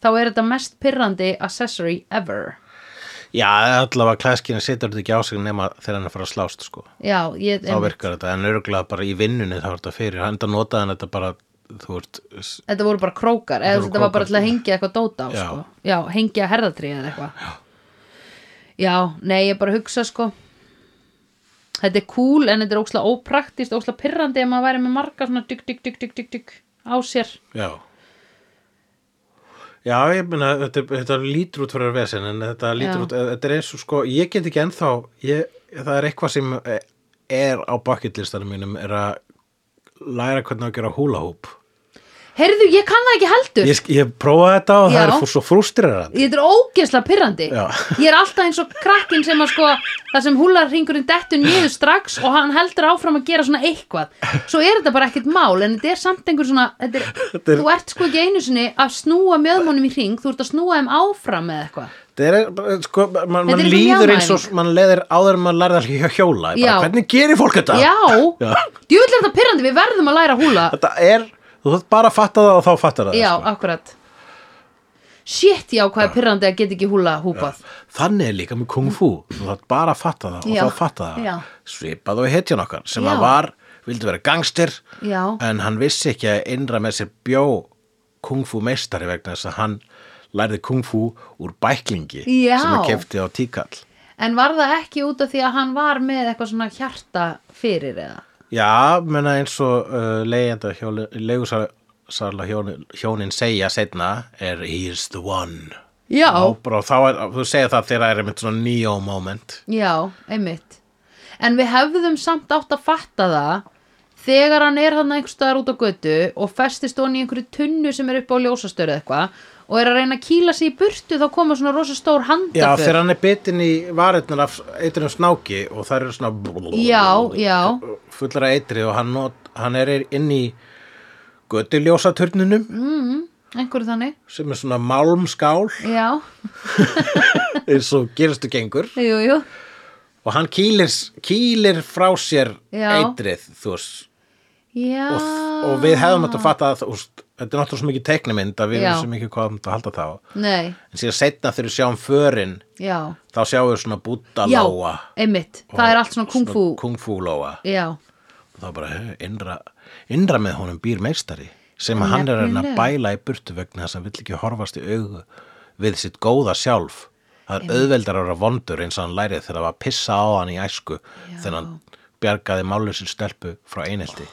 þá er þetta mest pirrandi accessory ever. já, allavega klæskinu situr þetta ekki á sig nema þegar hann er að fara að slást, sko. Já, ég... Þá virkar þetta, en örgulega bara í vinnunni þá er þetta fyrir, hann notaði hann þetta bara, þú ert Þetta voru bara krókar eða voru þetta var bara krókar, til að hengja eitthvað dóta á Já. sko. Já, hengja herðatrí eða eitthvað Já. nei, ég bara hugsa sko Þetta er cool en þetta er ókslega ópraktist ókslega pirrandi ef maður væri með marga svona dygg, dygg, dygg, dygg, dygg, dygg á sér Já Já, ég meina, þetta, þetta lítur út fyrir vesen, en þetta lítur Já. út, þetta er eins og sko, ég get ekki ennþá, ég, það er eitthvað sem eh, er á bucketlistanum mínum, er að læra hvernig á að gera húla húp. Heyrðu, ég kann það ekki heldur Ég, ég prófaði þetta og það Já. er fú- svo frústrirandi. Þetta er ógeðslega pirrandi Já. Ég er alltaf eins og krakkin sem að sko það sem húlarringurinn dettur niður strax og hann heldur áfram að gera svona eitthvað Svo er þetta bara ekkert mál en þetta er samt einhver svona þetta er, Þetta er- Þú ert sko ekki einu sinni að snúa mjöðmónum í ring þú ert að snúa þeim áfram með eitthvað Þetta er, bara, sko, Þetta man, man er eins og líður eins og, mjálæðing. man leðir áður en maður lærði að hjó- hjóla, Ég bara, Já. hvernig gerir fólk þetta? Já, Já. djúvill er þetta pirrandi við verðum að læra húla Þetta er, þú þarf bara að fatta það og þá fattar það. Já, sko. akkurat Shit, já, hvað er pirrandi að geta ekki húla húpað Þannig er líka með kung fu þú þátt bara að fatta það og Já, þá fatta það já. svipað og hetjan okkar sem Já. að var, vildi vera gangstir Já. en hann vissi ekki að innra með sér bjó kung fu meistari vegna þess að hann lærði kung fu úr bæklingi Já. sem hann kefti á tíkall En var það ekki út af því að hann var með eitthvað svona hjarta fyrir eða Já, menna eins og uh, leigjenda hjá leigusala sarla hjónin, hjónin segja setna er he's the one já, Ó, bara, þá er, þú segir það þegar það er einmitt svona neo moment já, einmitt en við hefðum samt átt að fatta það þegar hann er hann einhvers staðar út á götu og festist hann í einhverju tunnu sem er upp á ljósastöru eða eitthvað og er að reyna að kýla sig í burtu þá koma svona rosa stór handaför Já, þegar hann er bitin í varirnar af eitrinu snáki og það eru svona Já, já. fullara eitri og hann, not, hann er inn í göttuljósaturninum Mm. einhverju þannig, sem er svona málmskál já, eins og gerastu gengur jú, jú og hann kýlir, kýlir frá sér Já. eitrið þú veist já og, og við hefðum þetta að fatta að þú veist, þetta er náttúrulega svo mikið teiknimynd að við Ah. Já. vissum ekki hvað um þetta að halda þá nei, en síðan setna þegar við sjáum förin já, þá sjáum við svona já, búttalóa einmitt það er allt svona kung fu kungfúlóa já, og þá bara "Hö, innra, innra með honum býr meistari sem hann er að reyna að Nefnilega. bæla í burtu vegna þess að hann vill ekki horfast í augu við sitt góða sjálf það er auðveldar að vera vondur eins og hann lærið þegar það var að pissa á hann í æsku þegar hann bjargaði málusir stelpu frá einelti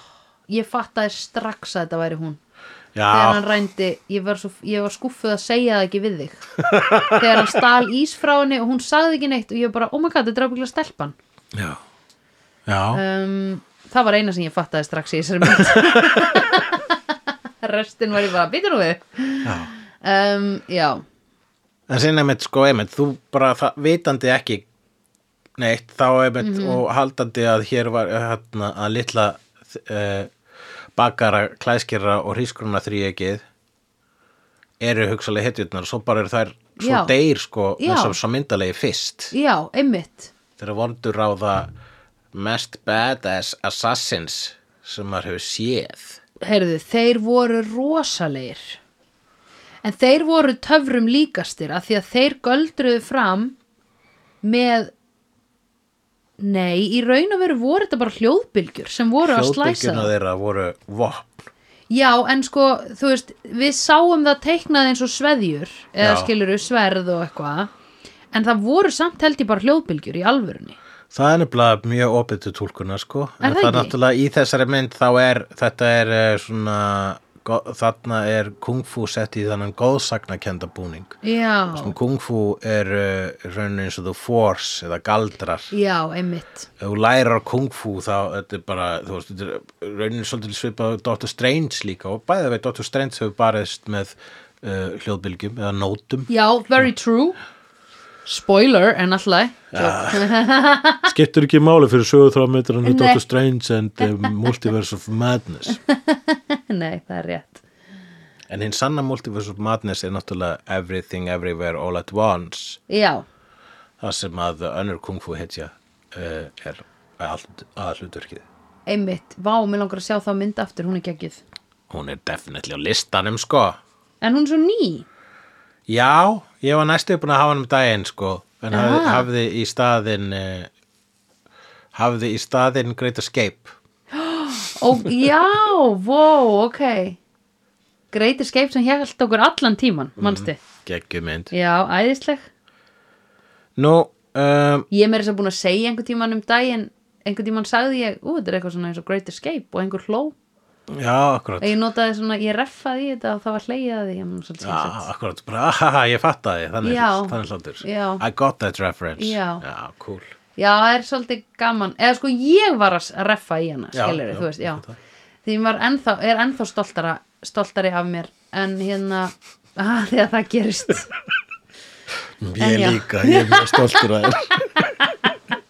ég fattaði strax að þetta væri hún þegar hann já, rændi, ég var, svo, ég var skúffuð að segja það ekki við þig þegar hann stal ís frá henni og hún sagði ekki neitt og ég var bara, oh my god, þetta er ábyggla stelpan já, já um, það var eina sem ég fattaði strax í þessari mynd restin var ég bara, býtur nú við já um, já, En sinna einmitt, sko, einmitt, þú bara það, vitandi ekki neitt, þá einmitt Mhm. og haldandi að hér var hérna, að litla uh, bakara, klæskera og hrískruna þríegið eru hugsalega hetjurnar og svo bara eru þær svo Já. deyr, sko, Já. þessum svo myndalegi fyrst. já, einmitt Þeirra vondur á það mest badass assassins sem maður hefur séð. heyrðu, þeir voru rosalegir en þeir voru töfrum líkastir af því að þeir göldruðu fram með nei, í raun og veru voru þetta bara hljóðbylgjur sem voru að slæsa Hljóðbylgjuna það. þeirra voru vopn. já, en sko, þú veist við sáum það teiknað eins og sveðjur eða Já. skiluru sverð og eitthvað en það voru samt held ég bara hljóðbylgjur í alvörunni Það er nefnilega mjög opið til tólkunar sko Er það en það er ekki? náttúrulega í þessari mynd þá er þetta er eh, svona go, þarna er kungfú sett í þannan góðsagnakenda búning já, sem kungfú er eh, raunin eins og þú force eða galdrar já, einmitt ef þú lærar kungfú þá þetta er bara þú veist þetta er raunin svolítið svipað og Dr. Strange líka og bæðið veit Dr. Strange hefur barist með uh, hljóðbylgjum eða nótum já, very true spoiler, en alltaf ja. skiptir ekki máli fyrir sögutrámiðurinn í Nei. Dr. Strange and the Multiverse of Madness nei, það er rétt En hinn sanna Multiverse of Madness er náttúrulega Everything Everywhere All at Once Já, það sem að önnur kung fu hetja uh, er aðhluturkið einmitt, vá, mér langar að sjá þá mynd aftur, hún er geggið Hún er definitely á listanum sko En hún er svo ný Já, ég var næstu búin að hafa hann um daginn sko en hafði, Ah. hafði í staðinn uh, hafði í staðinn Great Escape Ó, Já, vó, ok Great Escape sem hjælt okkur allan tíman, manstu geggjumynd Já, æðisleg Nú, um, Ég er meira þess að búin að segja einhver tíman um daginn einhver tíman sagði ég, ú, þetta er eitthvað svona eins og Great Escape og einhver hló já, akkurat og ég notaði svona, ég reffaði í þetta og það var hlegið að því ég, mun svolítið Já, skemmtilegt. akkurat, bara, ahaha, ég fattaði þannig, Já. þannig hlátur Já. I got that reference Já. já cool Já, það er svolítið gaman eða sko ég var að s- að reffa í hana Já, skilur, já, þú veist, ég já veit það. því ég var ennþá, er ennþá stoltara stoltari af mér en hérna að því að það gerist En já. Ég líka, ég er mjög stoltur að þér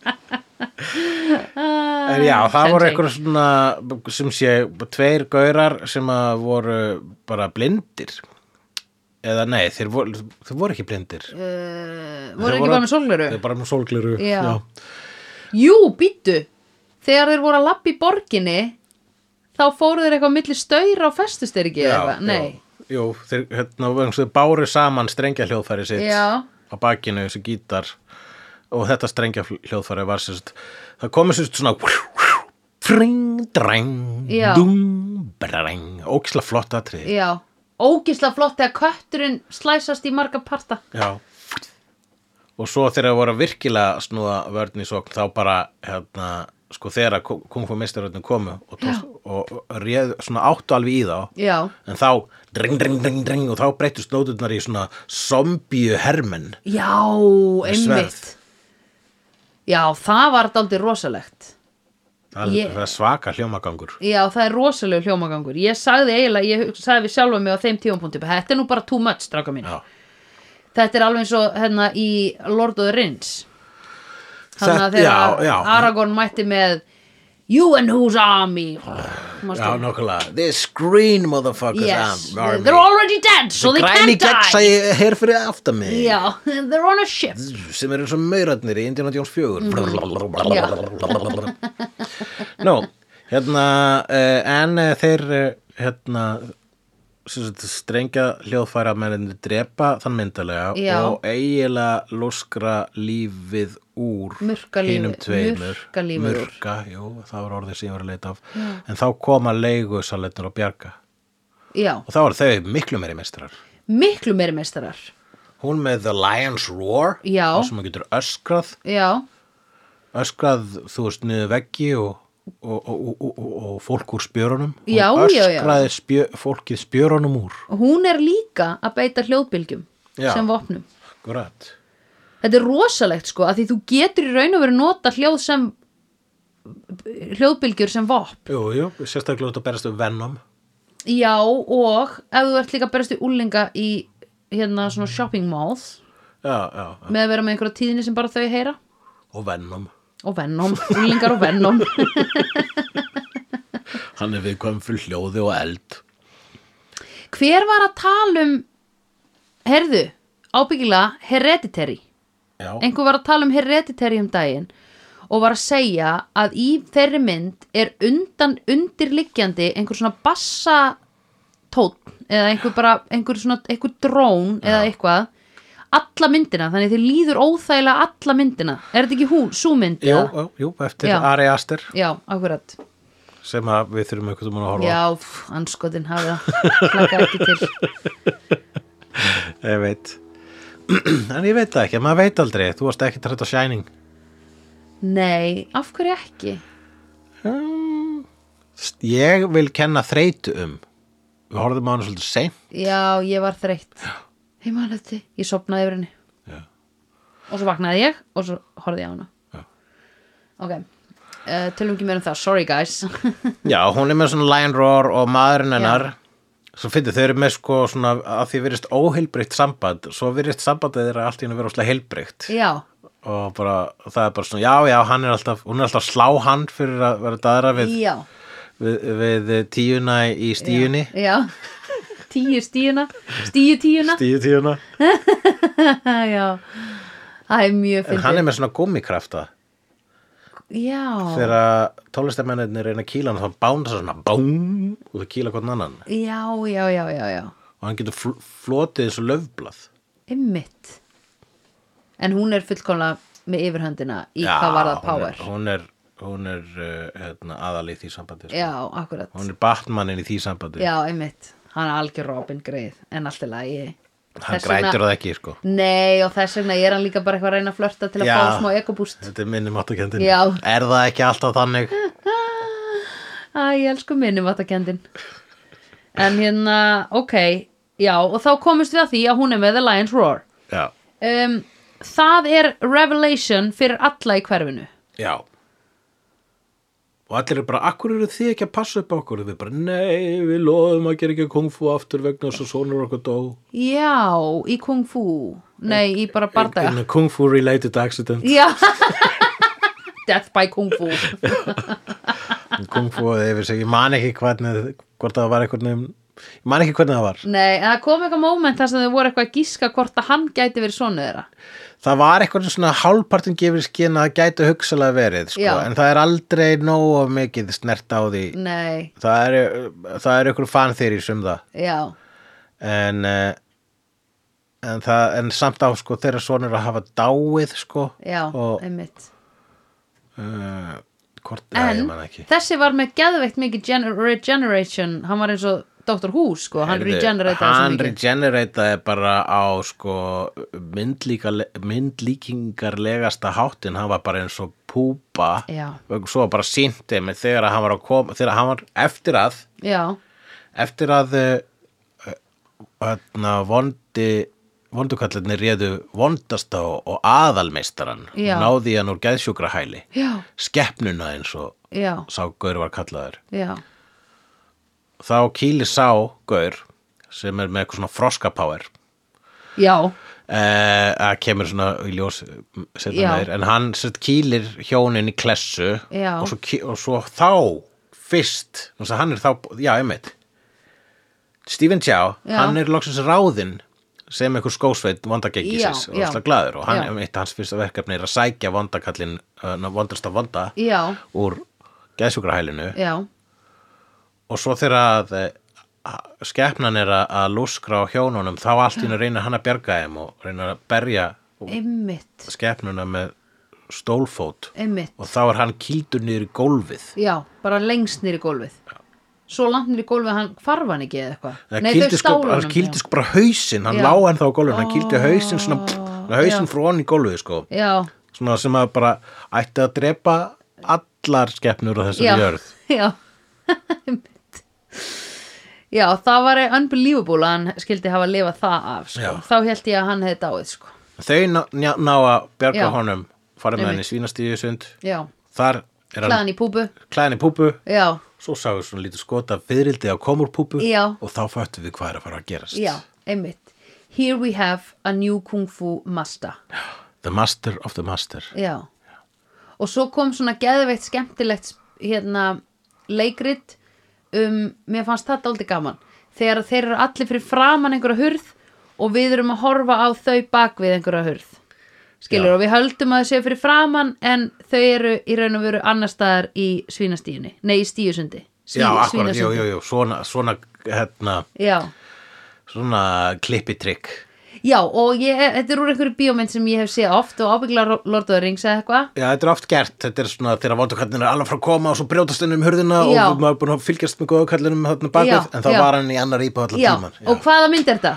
En já, það voru Ah, Sensei. einhver svona sem sé, tveir gaurar sem að voru bara blindir eða nei, þeir voru, þeir voru ekki blindir Þeir uh, voru ekki bara með sólgleru Þeir bara með sólgleru Já. jú, býttu þegar þeir voru að lappa í borginni þá fóru þeir eitthvað á milli stöyra og festust þeir ekki Já, eða eitthvað, nei já. Jú, þeir, hérna, vegna þess að þeir báru saman strengja hljóðfæri sitt Já. á bakinu, þessi gítar og þetta strengja hljóðfæri var sérst það komið sérst svona fring, dreng, Já. dum, breng ógislega flott atrið já, ógislega flott þegar kötturinn slæsast í marga parta Já Og svo þegar það voru virkilega að snúa vörn í sókn þá bara hérna, sko þegar að kung fu meistaröðnum komu og, tókst, og, og réð, svona áttu alveg í þá já, en þá dring, dring, dring, dring og þá breytust nóturnar í svona zombíu hermenn já, einmitt sverð. já, það var daldið rosalegt það, Ég- það er svaka hljómagangur Já, það er rosalega hljómagangur. Ég sagði eiginlega, ég hug- sagði við sjálfa mig á þeim tífumpunkti, bara, þetta er nú bara too much, stráka mín. Já. Þetta er alveg eins og hérna í Lord of the Rings. Þannig að Þetta- já, þegar já. Aragorn mætti með You and whose army. Manstu? Já, nokkulega This green motherfuckers yes, am- army. they're already dead, so they Græni can't die. gegnsæi hér fyrir aftan mig Já, they're on a ship. sem er eins og maurarnir í Indiana Jones 4 Mm. Nú, hérna uh, en uh, þeir uh, hérna sem sagt, strengja hljóðfæra menninni drepa þann myndalega Já. og eiginlega lúskra lífið úr Murka hinum lífið- tveimur murka lífið úr. murka, jú, það var orðið sem ég var að leita af en þá koma leigu saletnur og bjarga Já, og þá eru þau miklu meiri mestrar miklu meiri meistarar. hún með The Lion's Roar Já. þar sem hún getur öskrað Já, öskrað, þú veist, niður veggi og, og, og, og, og, og fólk úr spjörunum Já, Hún já, já. öskraði spjö, fólkið spjörunum úr hún er líka að beita hljóðbylgjum Já. sem vopnum. Grætt. Þetta er rosalegt sko að því þú getur í raun og verið nota hljóð sem hljóðbylgjur sem vopn. Jú, jú, sérstaklega út að berast um Venom Já og ef þú ert líka berast í úlinga í hérna svona shopping malls já, já, já. með að vera með einhverja tíðni sem bara þau heyra og Venom og Venom, úlingar og Venom hann er viðkvæm fyrir hljóði og eld Hver var að tala um herðu, ábyggilega hereditary já, einhver var að tala um hereditary um daginn og var að segja að í þeirri mynd er undan undirliggjandi einhver svona bassatótt eða einhver bara einhver svona einhver drón eða eitthvað alla myndina, þannig þið líður óþægilega alla myndina, er þetta ekki hún, sú mynd jú, eða? jú, jú, eftir Já. Ari Aster já, akkurat sem að við þurfum einhvern veginn að horfa á. já, pff, anskotin hafi það hlaka ekki til ég veit en ég veit það ekki, maður veit aldrei þú varst ekki trætt á Shining nei, af hverju ekki ég vil kenna þreytu um við horfðum á hann svolítið seint já, ég var þreytt ég man þetta, ég sopnaði yfir henni Já. og svo vaknaði ég og svo horfði ég á hana Já. ok uh, tölum ekki meira um það, sorry guys Já, hún er með svona lion roar og maðurinn hennar svo fyndið, þau eru með sko svona að því verist óheilbreykt samband svo verist sambandið þeirra allt í henni vera óslega heilbreykt já, og bara, það er bara svona, já, já, hann er alltaf hún er alltaf að slá hann fyrir að vera daðra við, já, við, við eh, tíuna í stíunni já tíu stíuna stíu tíuna stíu tíuna, já, það er mjög en hann fyndið er með svona gummikrafta já, þegar að tónlistamennirnir reyna að kýla hann þá bánsa svona, bám og það kýla hvern annan já, já, já, já, já og hann getur fl flotið eins og löfblað einmitt en hún er fullkomlega með yfirhöndina í hvað var það power hún er, hún er, hún er uh, hérna, aðal í því sambandi sko. já, akkurat, hún er Batmanin í því sambandi já, einmitt hann er algjör Robin greið, en allt er lagi hann Þess vegna- grætur það ekki sko. Nei og þess vegna ég er hann líka bara eitthvað að reyna að flörta til að Já. fá smá ekobúst þetta er minni máttakendin Já. Eh. er það ekki alltaf þannig Æ, ég elsku minnum að það kendin En hérna, ok Já, og þá komumst við að því að hún er með The Lion's Roar já, um, Það er revelation fyrir alla í hverfinu já og allir eru bara akkur eru þið ekki að passa upp á okkur og við bara nei, við loðum að gera ekki kungfu aftur vegna þess að sonur okkur dó Já, í kung fu Nei, í bara bardaga In a kungfu related accident Já Death by kung fu kungfu eða yfir sig, ég man ekki hvernig hvort það var eitthvað nefn ég man ekki hvernig það var Nei, en það kom eitthvað moment þar sem þau voru eitthvað að gíska hvort að hann gæti verið svona þeirra það var eitthvað svona hálfpartin gefur skinn að það gæti hugsalega verið sko, Já. en það er aldrei nógu mikið snert á því Nei, það er, það er ykkur fan þeirri um það já, en, eh, en, það, en samt á sko, þeirra sonur að hafa dáið sko, já, og einmitt uh, hvort, já, ég en man ekki þessi var með geðveikt mikið gener- regeneration hann var eins og Dr. Who sko, hann Heyrðu, regenerataði svo hann mikið regenerataði bara á sko, myndlíka, myndlíkingarlegasta háttin hann var bara eins og púpa Já. svo var bara sýnti með þegar að hann var að koma þegar hann var eftir að Já, eftir að eh, hérna vondi vondukallarnir réðu vondasta og, og aðalmeistaran Já. náði í hann úr geðsjúkrahæli já, skeppnuna eins og já, sá gaur var kallaður já þá kýli sá gaur sem er með eitthvað svona froskapáir Já, eh, að kemur svona í ljós setna Já. meir, en hann sett kýlir hjónin í klessu Já. og svo, ký- og svo þá fyrst, þannig að hann er þá já, einmitt Stephen Chow, Já. hann er loksins ráðinn sem einhver skósveit vondagengisins Já, og já. slag glæður og hann, Já. einmitt, hans fyrsta verkefni er að sækja vondakallin uh, vondrasta vonda já, úr geðsjúkrahælinu já og svo þegar að eh, að skepnan er að, að lúskra á hjónunum þá allt í hennu reynir hann að bjarga þeim og reynir að berja Einmitt, skepnuna með stólfót einmitt og þá er hann kýldur niður í gólfið Já, bara lengst nýri gólfið Svo langt nýri gólfið, hann hvarf hann ekki eða eitthvað Það Nei, þau kýldi sko, stálu hann kýldi sko bara hausinn hann Já. Ah, lá ennþá á gólfinu, hann kýldi hausinn svona, svona hausinn Já. frá hann í gólfið sko Já, svona sem að bara ætti að drepa allar skepnur á þessari já, jörð já Einmitt. Já, það var unbelievable að hann skildi hafa að lifa það af sko. Já. Þá held ég að hann hefði dáið sko. þau ná, ná, ná að bjarga Já. honum fara með Einmitt. hann í svínastíðu sund Já, þar er hann hlaðan í púbu klæðin í púpu Já, Svo sáum við svona lítið skota fyrildi á komurpúpu Já. og þá föttum við hvað er að fara að gerast. já, einmitt Here we have a new kung fu master The master of the master. Já. Og svo kom svona geðveitt skemmtilegt hérna leikrit um, mér fannst þetta aldrei gaman. Þegar þeir eru allir fyrir framan einhverja hurð og við erum að horfa á þau bak við einhverja hurð. Skilur, Já. og við höldum að þau séu fyrir framan en þau eru í raun og veru annar staðar í svínastíðunni. Nei, í stíðusundi. já, akkurat, jú, jú, jú, svona, svona, hérna, Já. svona klippitrykk. Já, og ég, þetta er úr einhverju bíómynd sem ég hef séð oft og ábyggla Lord of the Rings eða eitthvað. Já, þetta er oft gert, þetta er svona þegar vondukallinir er alveg frá að koma og svo brjótast henni um hurðina Já. og maður er búin að fylgjast með góðukallinum hérna Já, bakið, en þá já. var hann í annar íbúð allar Já, tíman. og hvaða mynd er þetta?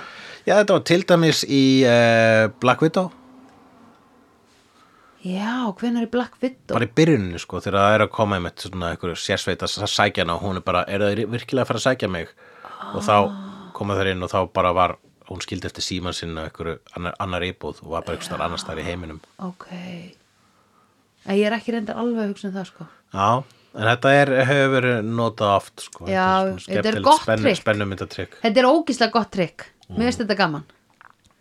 já, þetta var til dæmis í uh, Black Widow, Já, hvenær er Black Widow? bara í byrjuninu sko, þegar það er að koma einmitt svona einhverju sérsveita að sækja hana og hún er bara, er það virkilega að fara að sækja mig og þá koma þær inn og þá bara var, hún skildi eftir síman sinna einhverju annar, annar íbúð og var bara einhverjum annar staðar í heiminum Ok En ég er ekki reyndar alveg að hugsa um það sko Já, en þetta er, hefur verið notað oft sko, Já, þetta þetta er, er svona skemmtilegt gott spennu- trikk. spennumyndatrikk. Þetta er ógislega gott trikk Mér finnst þetta gaman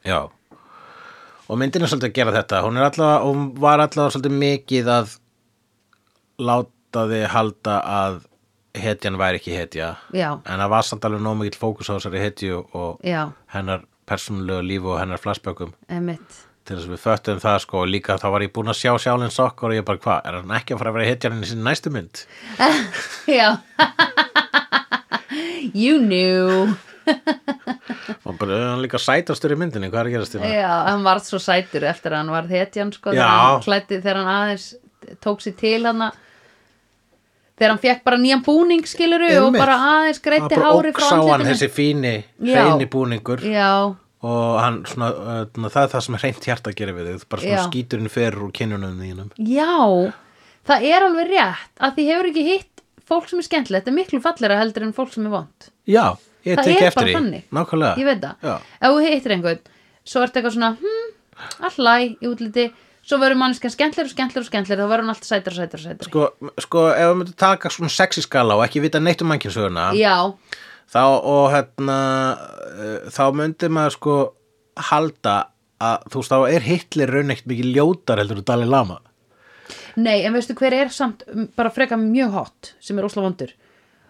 Já, og myndin er svolítið að gera þetta, hún er allavega, hún var allavega svolítið mikið að láta þið halda að hetjan væri ekki hetja Já, en það var samt alveg nóg mikill fókus á þessari hetju og já, hennar persónulegu lífu og hennar flashbökkum emitt til þess að við föttum það sko og líka þá var ég búin að sjá sjálfinn sokkar og ég bara hvað, er hann ekki að fara að vera hetjarinn í sinni næstu mynd? Já You knew Og bara "Er hann líka sætastur í myndinni, hvað er að gerast þérna? Já, hann varð svo sætur eftir að hann varð hetjan sko Já. þegar hann, klæddi, þegar hann aðeins tók sér til hann þegar hann fekk bara nýjan búning skiluru og Einmitt. bara aðeins greiti bara hári frá óksá hann andlitinu þessi fíni, Já. feini búningur Já, og hann svona, öðna, það er það sem er hreint hjarta að gera við þig, bara svona Já. skíturinn fyrir úr kynunum þínum. Já, það er alveg rétt að því hefur ekki hitt fólk sem er skemmtilegt þetta er miklu fallera heldur en fólk sem er vond Já, ég Það tek er eftir bara því, þannig. nákvæmlega. ég veit það, Já. ef þú hittir einhvern svo ertu eitthvað svona hmm, allæ í útliti svo verður manneskjan skemmtilegur og skemmtilegur og skemmtilegur þá verður hann alltaf sætar og sætar og sætar Sko, sko, ef við myndum taka svona sexiskala og ekki vita neitt um mannkinsöguna, Já, þá og hérna eh, þá myndi maður sko halda að þú veist þá er Hitler raun ekkert mikið ljótar heldur og Dalai Lama nei, en veistu hver er samt mm, bara freka mjög hot sem er ósla vondur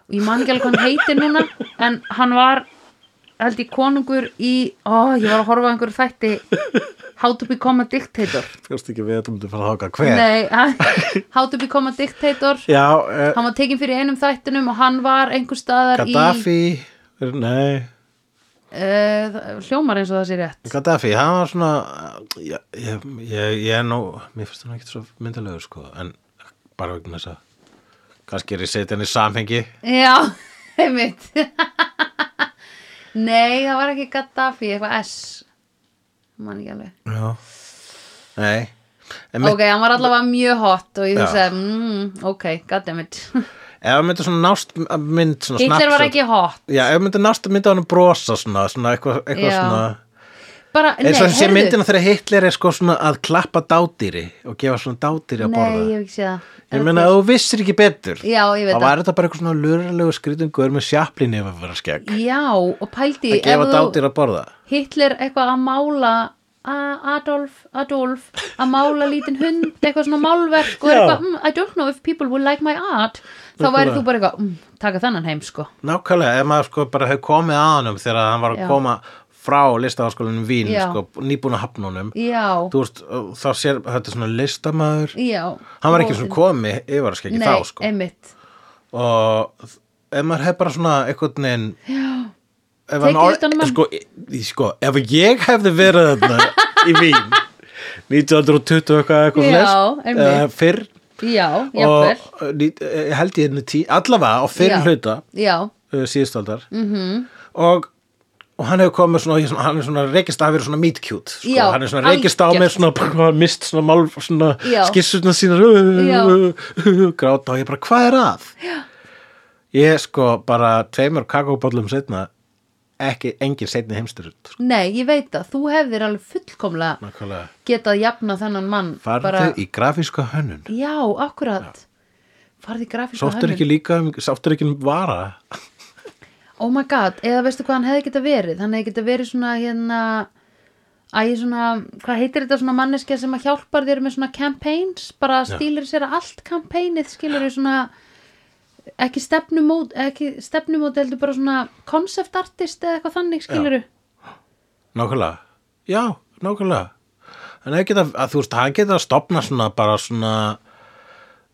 og ég man ekki alveg hvað hann heitir núna en hann var held ég konungur í, ó, ég var að horfa á einhverju þætti How to become a dictator Fjóst ekki við að þú myndi fara að haka hver Nei, hann- How to Become a Dictator Já, uh, Hann var tekinn fyrir einum þættinum og hann var einhver staðar Gaddafi Nei, í uh, Hljómar eins og það sé rétt Gaddafi, hann var svona ég, ég, ég, ég er nú mér finnst hann ekkert svo myndilegur sko en bara vegna þess að kannski er ég setja hann í samhengi Já, einmitt Nei, það var ekki Gaddafi, eitthvað S Man ekki alveg Já. Nei. En Ok, hann var allavega mjög hot og ég Já. hugsaði, mm, ok, goddammit Ef það myndi svona nást mynd svona Hitler var snapshot- ekki hot Já, ef það myndi nást myndi hann brosa svona, svona eitthvað, eitthvað Já. svona Bara, nei, eins og þessi heyrðu myndina þegar Hitler er sko svona að klappa dádýri og gefa svona dádýri að Nei, borða ég hef ekki séð það Er Ég það meina til? að þú vissir ekki betur Já, ég veit Þá var þetta bara eitthvað svona lurlegu skrýtungur með sjaplinni ef að vera skegg Já, og pældi að ef gefa þú- dádýr að borða Hitler eitthvað að mála a- Adolf, Adolf að mála lítinn hund, eitthvað svona málverk og er Já. eitthvað, mm, I don't know if people will like my art þá væri Nákvæmlega. þú bara eitthvað, mm, taka þennan heim sko Nákvæmlega, ef maður sko bara hefur komið að honum þegar hann var að Já. koma frá listaháskólanum Vín, Já. sko, nýbúna hafnunum Já, Þú veist, þá sér, þetta er svona listamaður já Hann var ekki svona Móðinn. komið yfir að skeggi Nei, þá, sko einmitt og ef maður hefði bara svona eitthvað neginn ef Tekið hann orð- utan um hann. sko, í- sko, ef ég hefði verið þarna í Vín 1920 eitthvað eitthvað Já, svoleiðis, einmitt. eða fyrr Já, og jáfnvel eh, ní- eh, held ég henni tí allavega á fyrr Já. hluta Já, uh, síðustaldar mm Mhm. og og hann hefur komið svona, ég svona hann er svona reykist að vera svona meet cute sko. Já, hann er svona reykist á með algjört. svona brr, hann mist svona, mál, svona Já. skissutna sínar uh, Já. uh, uh, gráta og ég bara hvað er að Já. ég sko bara tveimur kakóbollum setna ekki engin setni heimstur sko. nei, ég veit það Þú hefðir alveg fullkomlega nákvæmlega getað jafna þennan mann farðu í grafíska hönnun Já, akkurat Farði grafíska sáttur ekki líka um, sáttur ekki um vara Oh my god, eða veistu hvað hann hefði geta verið hann hefði geta verið svona hérna æ, svona, hvað heitir þetta svona manneskja sem að hjálpar þér með svona campaigns, bara stýlir sér að allt campaignið skilur þér svona ekki stefnumót ekki stefnumót heldur bara svona concept artist eða eitthvað þannig skilur Nákvæmlega, já, nákvæmlega En það geta, að þú veist, hann geta að stopna svona bara svona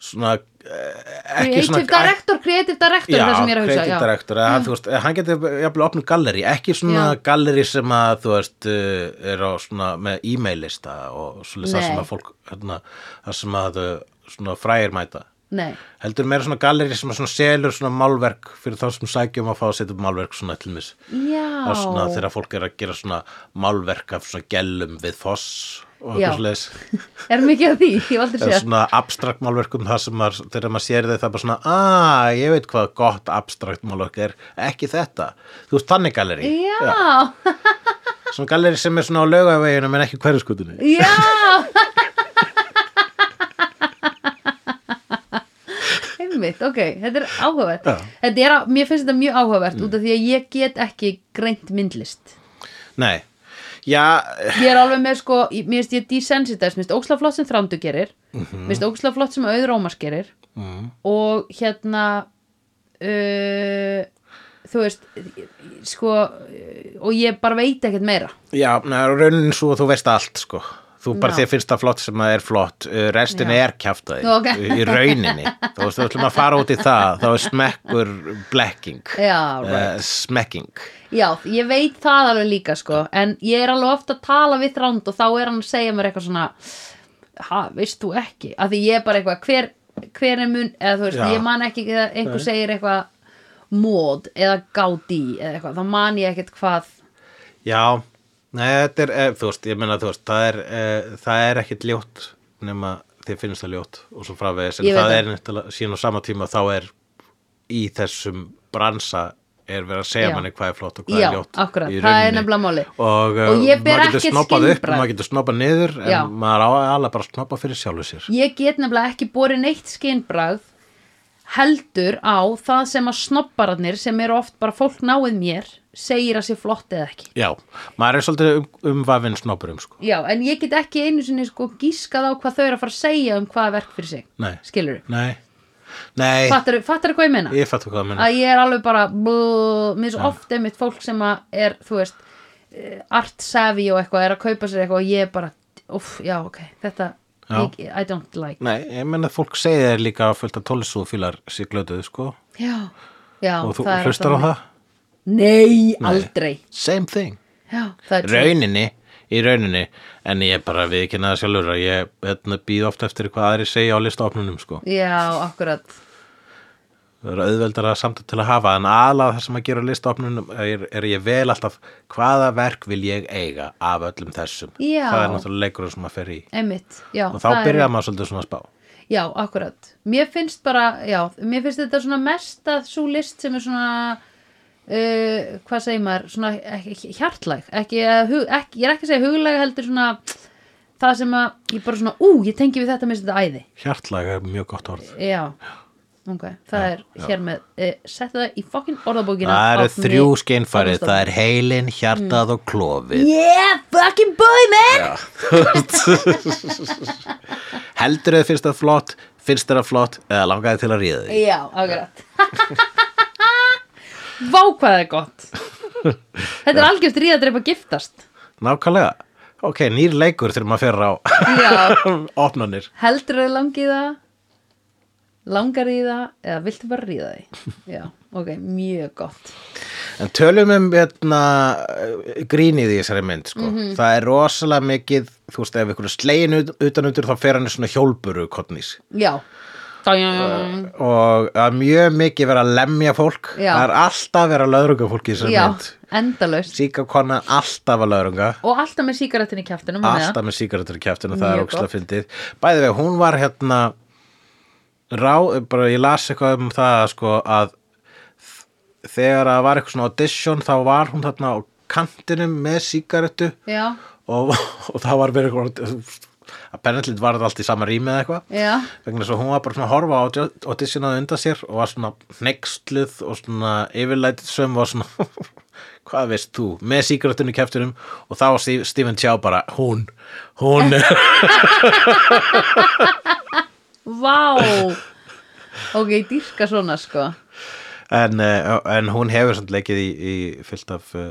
svona eh, ekki creative director, creative director Já, er það sem ég er að hugsa, Mm. creative director, eða, þú veist, eh, hann geti jafnvel opnum galleri, ekki svona Já. galleri sem að, þú veist, uh, er á svona með e-mail-lista og svolítið það Nei. sem að fólk, hérna, það sem að uh, svona frægir mæta Nei, heldur meira svona galleri sem að svona selur svona málverk fyrir þá sem sækjum að fá að setja upp málverk svona til mis já það er svona þegar fólk er að gera svona málverk af svona gellum við foss og Já. eitthvað slags er mikið að því, ég var aldrei eða séð svona abstrakt málverkum það sem maður, þegar maður sér þau það er bara svona að ég veit hvað gott abstrakt málverk er ekki þetta, þú veist þannig galleri Já, svona galleri sem er svona á laugaveginu en ekki hverjuskutunni Já Einmitt, ok, þetta er áhugavert Já. þetta er, á- Mér finnst þetta mjög áhugavert út af því að ég get ekki greint myndlist nei, já, Ég er alveg með sko, ég- mér finnst ég desensitæs Mér finnst óksla flott sem þrándu gerir Mér finnst óksla flott sem auður ómas gerir mm, og hérna uh, þú veist sko, uh, og ég bara veit ekkert meira já neða, raunin svo að þú veist allt sko Þú bara Já. þér finnst það flott sem að er flott, uh, restin Já. er kjaftaði Ok. í rauninni. Þú veist, þú ætlum að fara út í það, þá er smekkur blekking. Já, right. uh, smekking Já, ég veit það alveg líka sko en ég er alveg ofta að tala við þránd og þá er hann að segja mér eitthvað svona ha, veist þú ekki? Af því ég er bara eitthvað, hver, hver er mun eða þú veist, Já. ég man ekki eða einhver segir eitthvað mód eða gádi eða eitthvað, þá man ég ekkert hvað já, nei, þetta er, eh, þú veist, ég meina þú veist, það er, eh, það er ekkit ljótt nema þið finnst það ljótt og svo fravegis, en Ég veit það það. er náttúrulega síðan á sama tíma þá er í þessum bransa er verið að segja Já. manni hvað er flott og hvað Já, er ljótt akkurat, í það er rauninni. nefnilega máli og, eh, Og ég ber maður getur ekkert snoppað upp skynbragð. maður getur snoppað niður en Já. maður á alveg bara að snoppa fyrir sjálfu sér ég get nefnilega ekki borið neitt skinnbragð heldur á það sem að snobbararnir sem eru oft bara fólk náið mér segir að sé flott eða ekki já, maður er svolítið um, um vafinn snoppurum sko. Já, en ég get ekki einu sinni sko gískað á hvað þau eru að fara að segja um hvaða verk fyrir sig. Nei. Skilur þau? nei, nei, Fattar þau hvað ég meina? ég fattu hvað það menna Að ég er alveg bara, blú, mér er svo oft einmitt fólk sem að er, þú veist, eh, art savvy og eitthvað, er að kaupa sér eitthvað og ég er bara, uff, já, ok, þetta, Já. ég, I don't like. Nei, ég menn að fólk segir þér líka að fullt að tólisúfílar sér glötuðu sko Já, já, og þú það er hlustar á alltaf- það Nei, aldrei. Same thing Já, það er Rauninni, í rauninni en ég bara við ekki neða sjálfur að ég hérna, býð oft eftir hvað aðri segja á listaopnunum sko Já, akkurat. það er auðveldara samt til að hafa en alað það sem að gera listaopnunum er, er ég vel alltaf hvaða verk vil ég eiga af öllum þessum Já. það er náttúrulega leikurinn sem maður fer í einmitt, já og þá það er- byrjar maður svolítið svona að spá Já, akkurat. Mér finnst bara, já, mér finnst þetta svona mest að svo list sem er svona, uh, hvað segir maður, svona ekki, hjartlæg, ekki, að hug, ekki, ég er ekki að segja huglæg heldur svona það sem að ég bara svona, ú, ég tengi við þetta með þetta æði. hjartlag er mjög gott orð Já, ok, það er hér með, uh, setja það í fokkin orðabókina. það eru Árni þrjú skeinfæri Árnason. það er heilin, hjartað og klofið Yeah, fucking boy, man! heldur þau finnst það flott finnst þau það flott eða langaði til að ríða því Já, akkurat. Vá hvað það er gott. Þetta er algjörst ríðadreip að giftast. nákvæmlega, ok, nýr leikur þegar maður fer á Já. opnanir heldur þau langið það langar í það eða viltu bara ríða því já, ok, mjög gott En tölum um hérna, grínið í þessari mynd sko. Mhm. það er rosalega mikið þú veist ef ykkur er slegin ut- utan undir þá fer hann í svona hjólburu kottnís já, Dang. og það er mjög mikið verið að lemja fólk Já. það er alltaf verið að löðrunga fólk í þessari já mynd endalaust síka konan alltaf að löðrunga og alltaf með sígarettin í kjæftinum alltaf með sígarettur í kjæftinu það er Mjög ógslag gott. fyndið bæði veg, hún var hérna rá, bara ég las eitthvað um það sko að þ- þegar að var eitthvað svona audition þá var hún þarna á kantinum með sígarettu já, og, og það var verið eitthvað apparently var þetta allt í sama rými eða eitthvað já, vegna þess að hún var bara svona að horfa á audi- auditionaði undan sér og var svona hneiksluð og svona yfirlætið sem var svona hvað veist þú, með sígarettunni kæftunum og þá var Steve- Stephen Chow bara hún, hún vá ok, ég dýrka svona sko en, eh, en hún hefur samt leikið í, í fyllt af uh,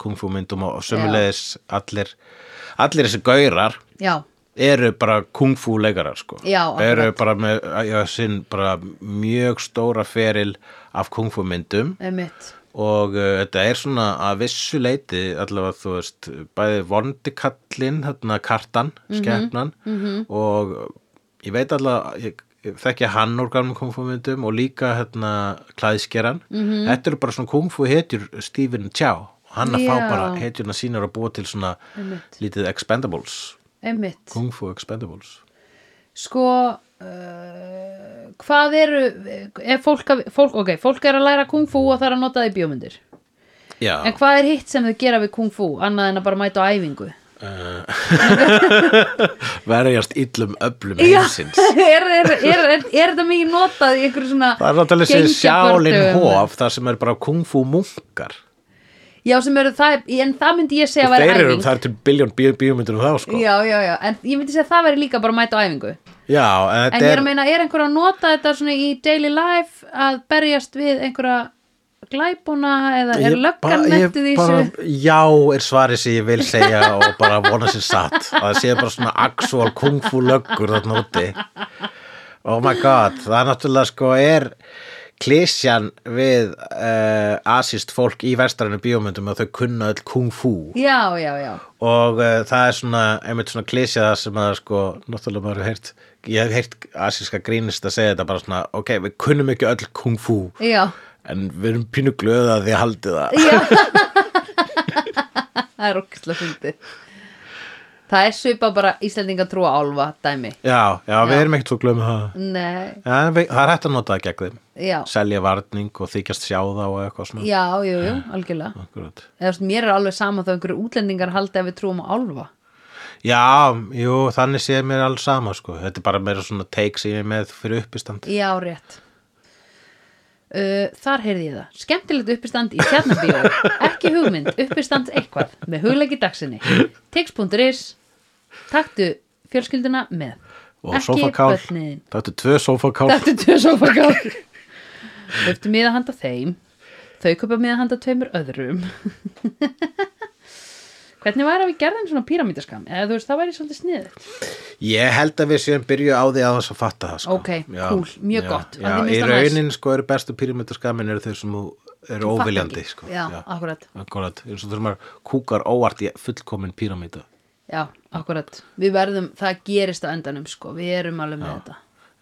kungfú myndum og sömulegis allir, allir þessi gaurar já, eru bara kungfú leikarar sko. Já, eru akkurat. bara með já, sinn bara mjög stóra feril af kungfú myndum emitt og uh, þetta er svona að vissu leiti allavega þú veist bæði vondikallin, hérna kartan skepnan og uh, ég veit allavega ég, ég þekki hann úr gamum kungfúmyndum og líka hérna klæðskeran -hmm. þetta eru bara svona kungfú hetjur Stephen Chow og hann að Já. fá bara hetjurna sínar að búa til svona lítið expendables emitt, kungfú expendables sko uh, hvað eru er fólk, að- fólk, ok, fólk er að læra kung fu og það er að nota það í bjómyndir Já, En hvað er hitt sem þau gera við kung fu annað en að bara mæta á æfingu? verjast illum öflum heimsins er, er, er, er, er þetta mikið notað í einhverju svona Það er náttúrulega þessi sjálin gengjabördögum? hof þar sem er bara kungfú munkar Já, sem eru það, en það myndi ég segja að og væri þeir eru, æfing það er til biljón bíómyndir um þá sko Já, já, já, en ég myndi segja að það væri líka bara að mæta á æfingu já en En þetta ég er, er að meina, er einhver að nota þetta svona í daily life að berjast við einhverja glæbuna eða er ég löggan bara- ég mentið í bara- þessu? já er svarið sem ég vil segja og bara vona sér satt að það sé bara svona actual kungfú löggur þarna úti oh my god, það er náttúrulega sko er klísjan við uh, asist fólk í verstrannu bíómyndum að þau kunna öll kungfú Já, já, já, og uh, það er svona einmitt svona klísja það sem að sko náttúrulega maður hefur heyrt ég hef heyrt asíska grínist að segja þetta bara svona ok, við kunnum ekki öll kung fu já, en við erum pínu glöða því að haldið það já. það er okkislega fyndi Það er svipa bara Íslendinga trúa álfa dæmi já, já, við Já. erum ekkert svo glöð með það Nei, ja, við, það er hægt að nota það gegn þeim já, selja varning og þykjast sjá það og eitthvað svona já, jú, jú, algjörlega Akkurat. eða svona, mér er alveg sama þá einhverju útlendingar haldi að við trúum á álfa já, jú, þannig sé mér alls sama sko. þetta er bara meira svona take sem ég er með fyrir uppistand já, rétt uh, þar heyrði ég það skemmtilegt uppistand í tjarnabíó ekki hugmynd, uppistand eitthvað með hugleiki dagsinni tix.is taktu fjölskylduna með og ekki sofakál, börnin þetta er tvö sofakál taktu tvö sofakál höftu miða handa þeim þau köpa miða handa tveimur öðrum hvernig væri að við gerðum svona píramítaskam eða þú veist, það væri svolítið sniðið Ég held að við séum byrju á því að þess að fatta það sko. Ok, cool, mjög já, gott. Já, Að þið í finnst það næs. raunin sko eru bestu pyramidaskamin eru þau sem þú- eru Fattar óviljandi ekki. sko. já, akkurat, Akkurat, eins og þurfum að kúkar óvart í fullkomin píramíta já, akkurat við verðum, það gerist á endanum sko, við erum alveg með þetta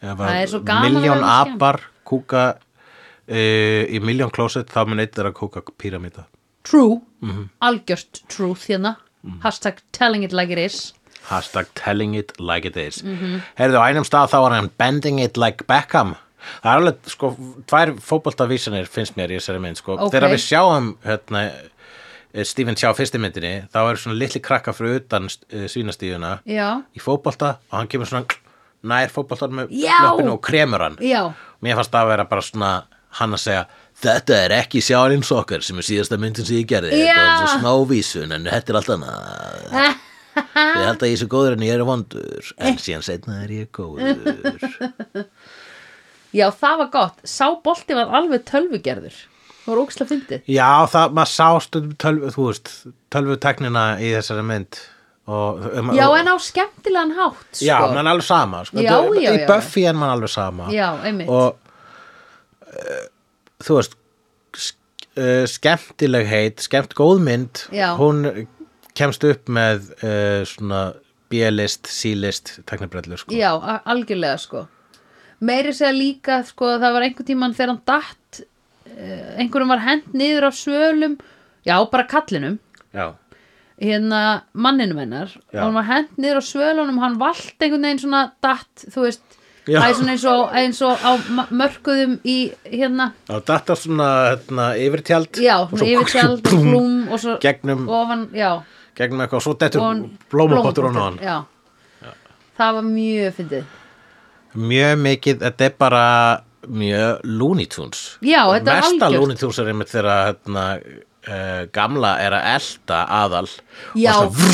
Ef Það að er svo gaman að Milljón vera með skjám. apar kúka e, í Million Closet þá mun eitt er að kóka píramíta True, Mhm. algjört truth hérna Hashtag telling it like it is Hashtag telling it like it is Heyrðu, á einum stað þá var hann bending it like Beckham Það er alveg, sko, tvær fótboltavísanir finnst mér í þessari mynd, sko Ok. Þegar við sjáum, hérna, eh, Stephen sjá fyrstu myndinni Þá eru svona litli krakka frá utan eh, svínastíðuna Já, Í fótbolta og hann kemur svona nær fótboltan með Já! löppinu og kremur hann já, Mér fannst það að vera bara svona hann að segja Þetta er ekki sjáin okkar sem er síðasta myndin sem ég gerði Já. Þetta er svo smávísun en þetta er allt annað Ég held að ég sé góður en ég er vondur En síðan setna er ég góður já, það var gott Sá bolti var alveg tölvugerður Það var ókslega fyndið Já, það, maður sá stundum tölvu, þú veist, tölvuteknina í þessari mynd og, um, Já, og, en á skemmtilegan hátt sko. Já, mann alveg sama sko. Já, Þetta- já, Í já. Buffy er mann alveg sama Já, einmitt og uh, þú veist sk uh, skemmtileg heit skemmt góð mynd Já. hún kemst upp með uh, svona B-list, C-list teknibrellur sko Já, a- algjörlega sko Meiri segja líka, sko, það var einhvern tíman þegar hann datt eh, einhverjum var hent niður af svölum Já, bara kallinum Já. hérna manninum hennar og Já. hann var hent niður á svölunum hann vald einhvern veginn svona datt þú veist, Já. það er svona eins og, eins og á ma- mörkuðum í hérna og þetta svona hérna, yfirtjald já, og svona svo yfirtjald og plúm, blúm og svo gegnum, ofan, já, gegnum eitthvað og svo dettur ofan- blómapottur á hann já. það var mjög fyndið mjög mikið, þetta er bara mjög Looney Tunes Já, þetta er mesta algjört. Looney Tunes er einmitt þegar hérna, uh, gamla er að elta aðal já, og, svo,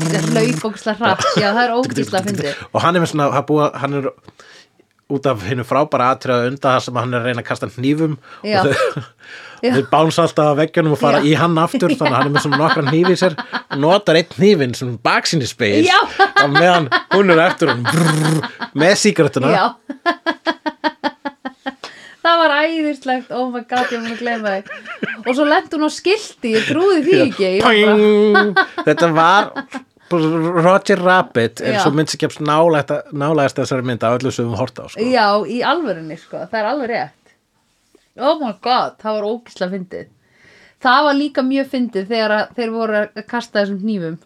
þetta er hlaupókslega hratt já, það er ógæslega fyndið og hann er með svona hann, búa, hann er út af hennu frábæra atriða undan það sem hann er að reyna að kasta hnífum Já. og þau, Já. þau báns alltaf að veggjunum og fara Já. í hann aftur þannig að hann er með svona nokkra hnífi í sér og notar einn hnífin sem baksinni speil Já. og meðan hún er eftir hún brrr, með sígarettuna já Það var æðislegt, oh my god, ég mun að gleyma þig. Og svo lendi hún á skilti, ég trúði því ekki. Ég var bara- Pang! Þetta var Roger Rabbit er Já. svo mynd sem kemst nálægt- nálægast þessari mynd af öllu sem við horta á sko. Já, í alvörunni sko, það er alveg rétt Oh my god, það var ógislega fyndið Það var líka mjög fyndið þegar að, þeir voru að kasta þessum hnífum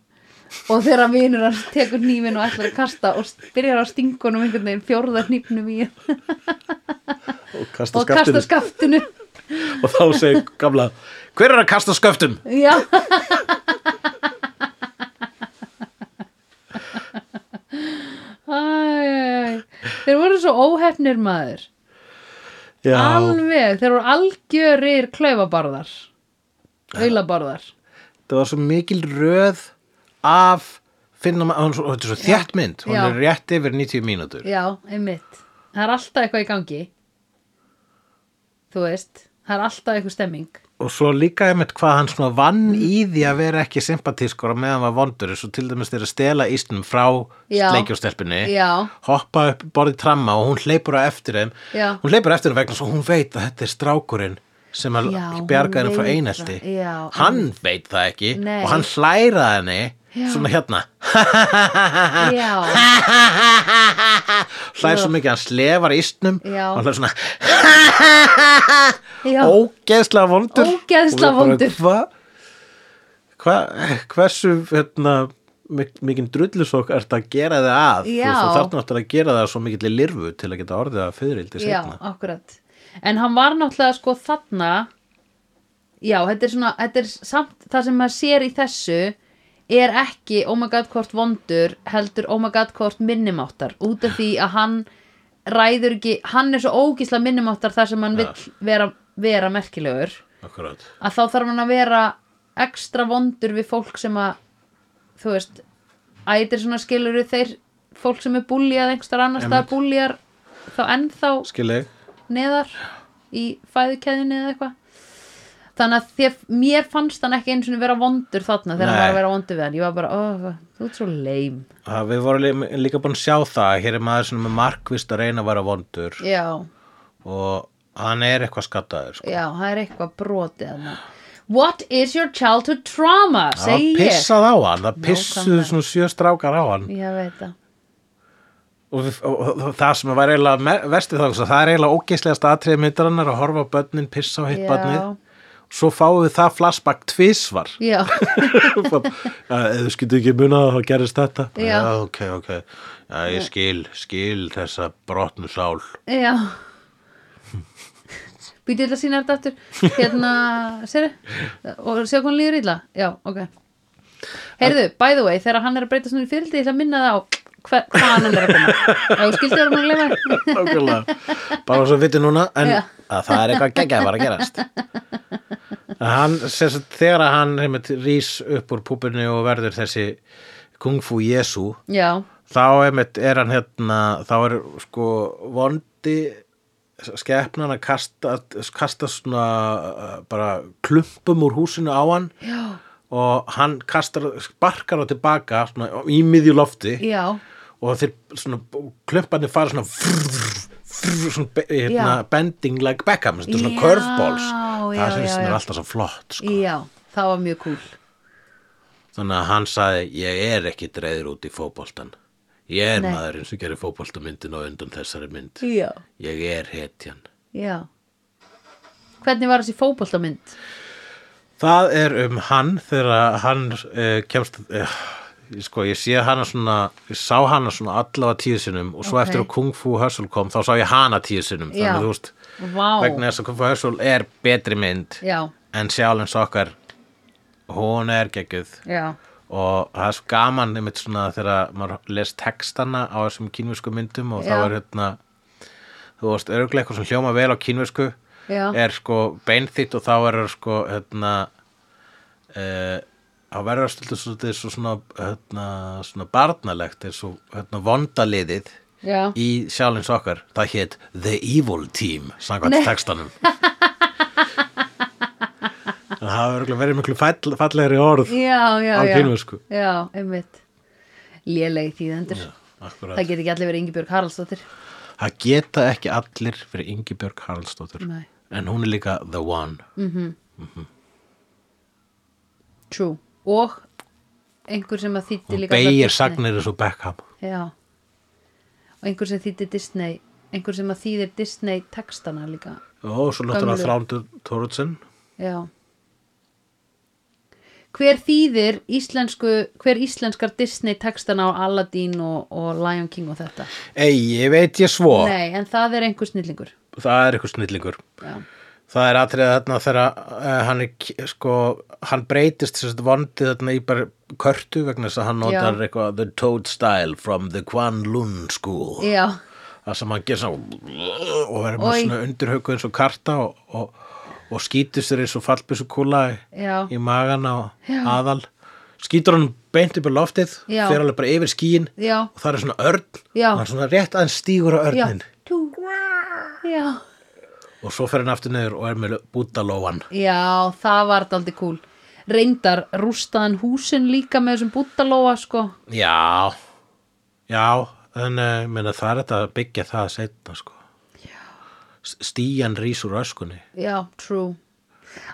og þegar að vinur hans tekur hnífin og ætlar að kasta og byrjar að stinga honum einhvern veginn fjórða hnífnum í hann og kasta og kasta skaftinu skaftinu og þá segir gamla hver er að kasta sköftum? Já Æ, þeir voru svo óhefnir maður Já, Alveg, þeir voru algjörir klaufabarðar Auðlabarðar það var svo mikil röð af finna maður, og þetta er svo þjætt mynd hún Já. er rétt yfir 90 mínútur Já, einmitt Það er alltaf eitthvað í gangi Þú veist Það er alltaf eitthvað stemming og svo líka einmitt hvað hann svona vann í því að vera ekki sympatískur og meðan var vondur eins og til dæmis þeir að stela ísnum frá Já. sleikjústelpunni Já. hoppa upp borðið tramma og hún hleypur á eftir þeim Já. hún hleypur á eftir þeim vegna svo hún veit að þetta er strákurinn sem að Já, hún bjarga henni frá veit einelti það. Já, hann veit það ekki Nei. og hann hlæra henni Já. svona hérna Já, hlæra svo mikið, hann slefar ísnum Já. og hann hlæra svona já ógeðslega vondur Ógeðslega Og ég bara, vondur. hva, hva, hversu hérna, mik- mikinn drullusokk ert að gera þið að Þú Já. veist, þú þarf náttúrulega að gera það svo mikill í lirfu til að geta orðið að fyririldi Já, setna akkurat En hann var náttúrulega sko þarna Já, þetta er svona Þetta er samt það sem maður sér í þessu er ekki oh my god hvort vondur heldur oh my god hvort minnumáttar út af því að hann ræður ekki, hann er svo ógísla minnumáttar þar sem hann Já. vill vera, vera merkilegur Akkurat. að þá þarf hann að vera ekstra vondur við fólk sem að þú veist ætir svona skilur við þeir fólk sem er búljað einhverstar annars það Einmitt. búljar þá ennþá skilji, neðar í fæðukeðjunni eða eitthvað þannig að þér, mér fannst hann ekki eins og vera vondur þarna þegar hann Nei. var að vera vondur við hann ég var bara, oh, þú ert svo leim Það, við vorum lí- líka búin að sjá það hér er maður sem er markvist að reyna að vera vondur já, og hann er eitthvað skattaður sko. já, það er eitthvað brotið hann What is your childhood trauma? það var segi ég pissað á hann það pissuðu Nákvæmlega. svona sjö strákar á hann Ég veit það og, við, og, og, og það sem var eiginlega me- verst við þá, það er eiginlega ógeislegasta atriði myndarinnar að horfa á börnin, pissa á hitt Já. börnið svo fáum við það flashback tvisvar já, eða þú skiltu ekki muna það, þá gerist þetta Já. ok, ok já, ég skil, skil þessa brotnu sál já Býtið til að sína þetta aftur Hérna, séru Og sjá hvernig líður illa Já, ok Heyrðu, by the way, þegar hann er að breyta svona í fyrildi Ég ætla að minna það á hver, hvað hann er að koma Já, skildi það um að glefa Nákvæmlega. bara svo viti núna en Já. að það er eitthvað geggjað var að gerast Að hann, sem sagt, þegar að hann einmitt, rís upp úr púbinu og verður þessi kung fu jesu Já, þá einmitt er hann hérna þá er sko vondi skepnan að kasta, kasta svona uh, bara klumpum úr húsinu á hann já, og hann kastar, sparkar á tilbaka svona, í miðju lofti já og þeir svona klumparnir fara svona frrr, frrr, svona be- hérna, Já. bending like Beckham þetta er svona Já, curveballs já, það já, finnst mér já. alltaf svo flott sko. Já, það var mjög cool þannig að hann sagði ég er ekki dreður út í fótboltan ég er Nei. maðurinn sem gerir fótboltamyndin og undan þessari mynd Já, ég er hetjan já Hvernig var þessi fótboltamynd? það er um hann þegar hann uh, kemst uh, sko ég sé hana svona ég sá hana svona allavega tíu sinnum og svo Ok. eftir að Kung Fu Hustle kom þá sá ég hana tíu sinnum þannig Já. að þú veist Vá, vegna þess að Kung Fu Hustle er betri mynd já, en sjálfins okkar hún er geggjuð já og það er svo gaman einmitt svona þegar maður les textana á þessum kínversku myndum og Já. þá er hérna þú veist, örgulega eitthvað sem hljóma vel á kínversku Já. er sko beinþýtt og þá er sko hérna e, þá verður stöldu svolítið svo svona, hérna, svona barnalegt eins og hérna vondaliðið Já. í sjálfins okkar það hétt The Evil Team samkvæmt textanum En það hefur örugglega verið miklu fall, fallegri orð já, já, á já. kínversku. já, einmitt lélegi þýðendur Akkurat. það get ekki allir verið Ingibjörg Haraldsdóttir Það geta ekki allir fyrir Ingibjörg Haraldsdóttir Nei. Mm. en hún er líka the one true, og einhver sem að þýtti hún líka allar beigir Disney. sagnir eins og Beckham já, og einhver sem þýtti Disney einhver sem að þýðir Disney textana líka, og svo náttúrulega Gömlu. Þrándur Tóruðsson já hver þýðir íslensku, hver íslenskar Disney textana á Aladdin og, og Lion King og þetta Ei, ég veit ég svo nei, en það er einhver snillingur það er eitthvað snillingur já, það er atriða þarna þegar uh, hann, er, k- sko, hann breytist sérst vondið þarna í bara körtu vegna þess að hann Já. notar eitthvað the toad style from the Kwan Lun school já, það sem hann gerir svona og verður með Oj. svona undirhauku eins og karta og, og, og skýtur sér eins og fallbissu kúla Já. í magan á aðal skýtur hann beint upp í loftið Já. fer alveg bara yfir skýin já, og það er svona örn Já. og hann svona rétt aðeins stígur á já örnin Tú. já og svo fer hann aftur niður og er með bútalóan Já, það var daldi kúl Reyndar rústaðan húsin líka með þessum búttalóa sko já já en uh, minna, það er þetta að byggja það setna sko S- stían rís úr öskunni Já, true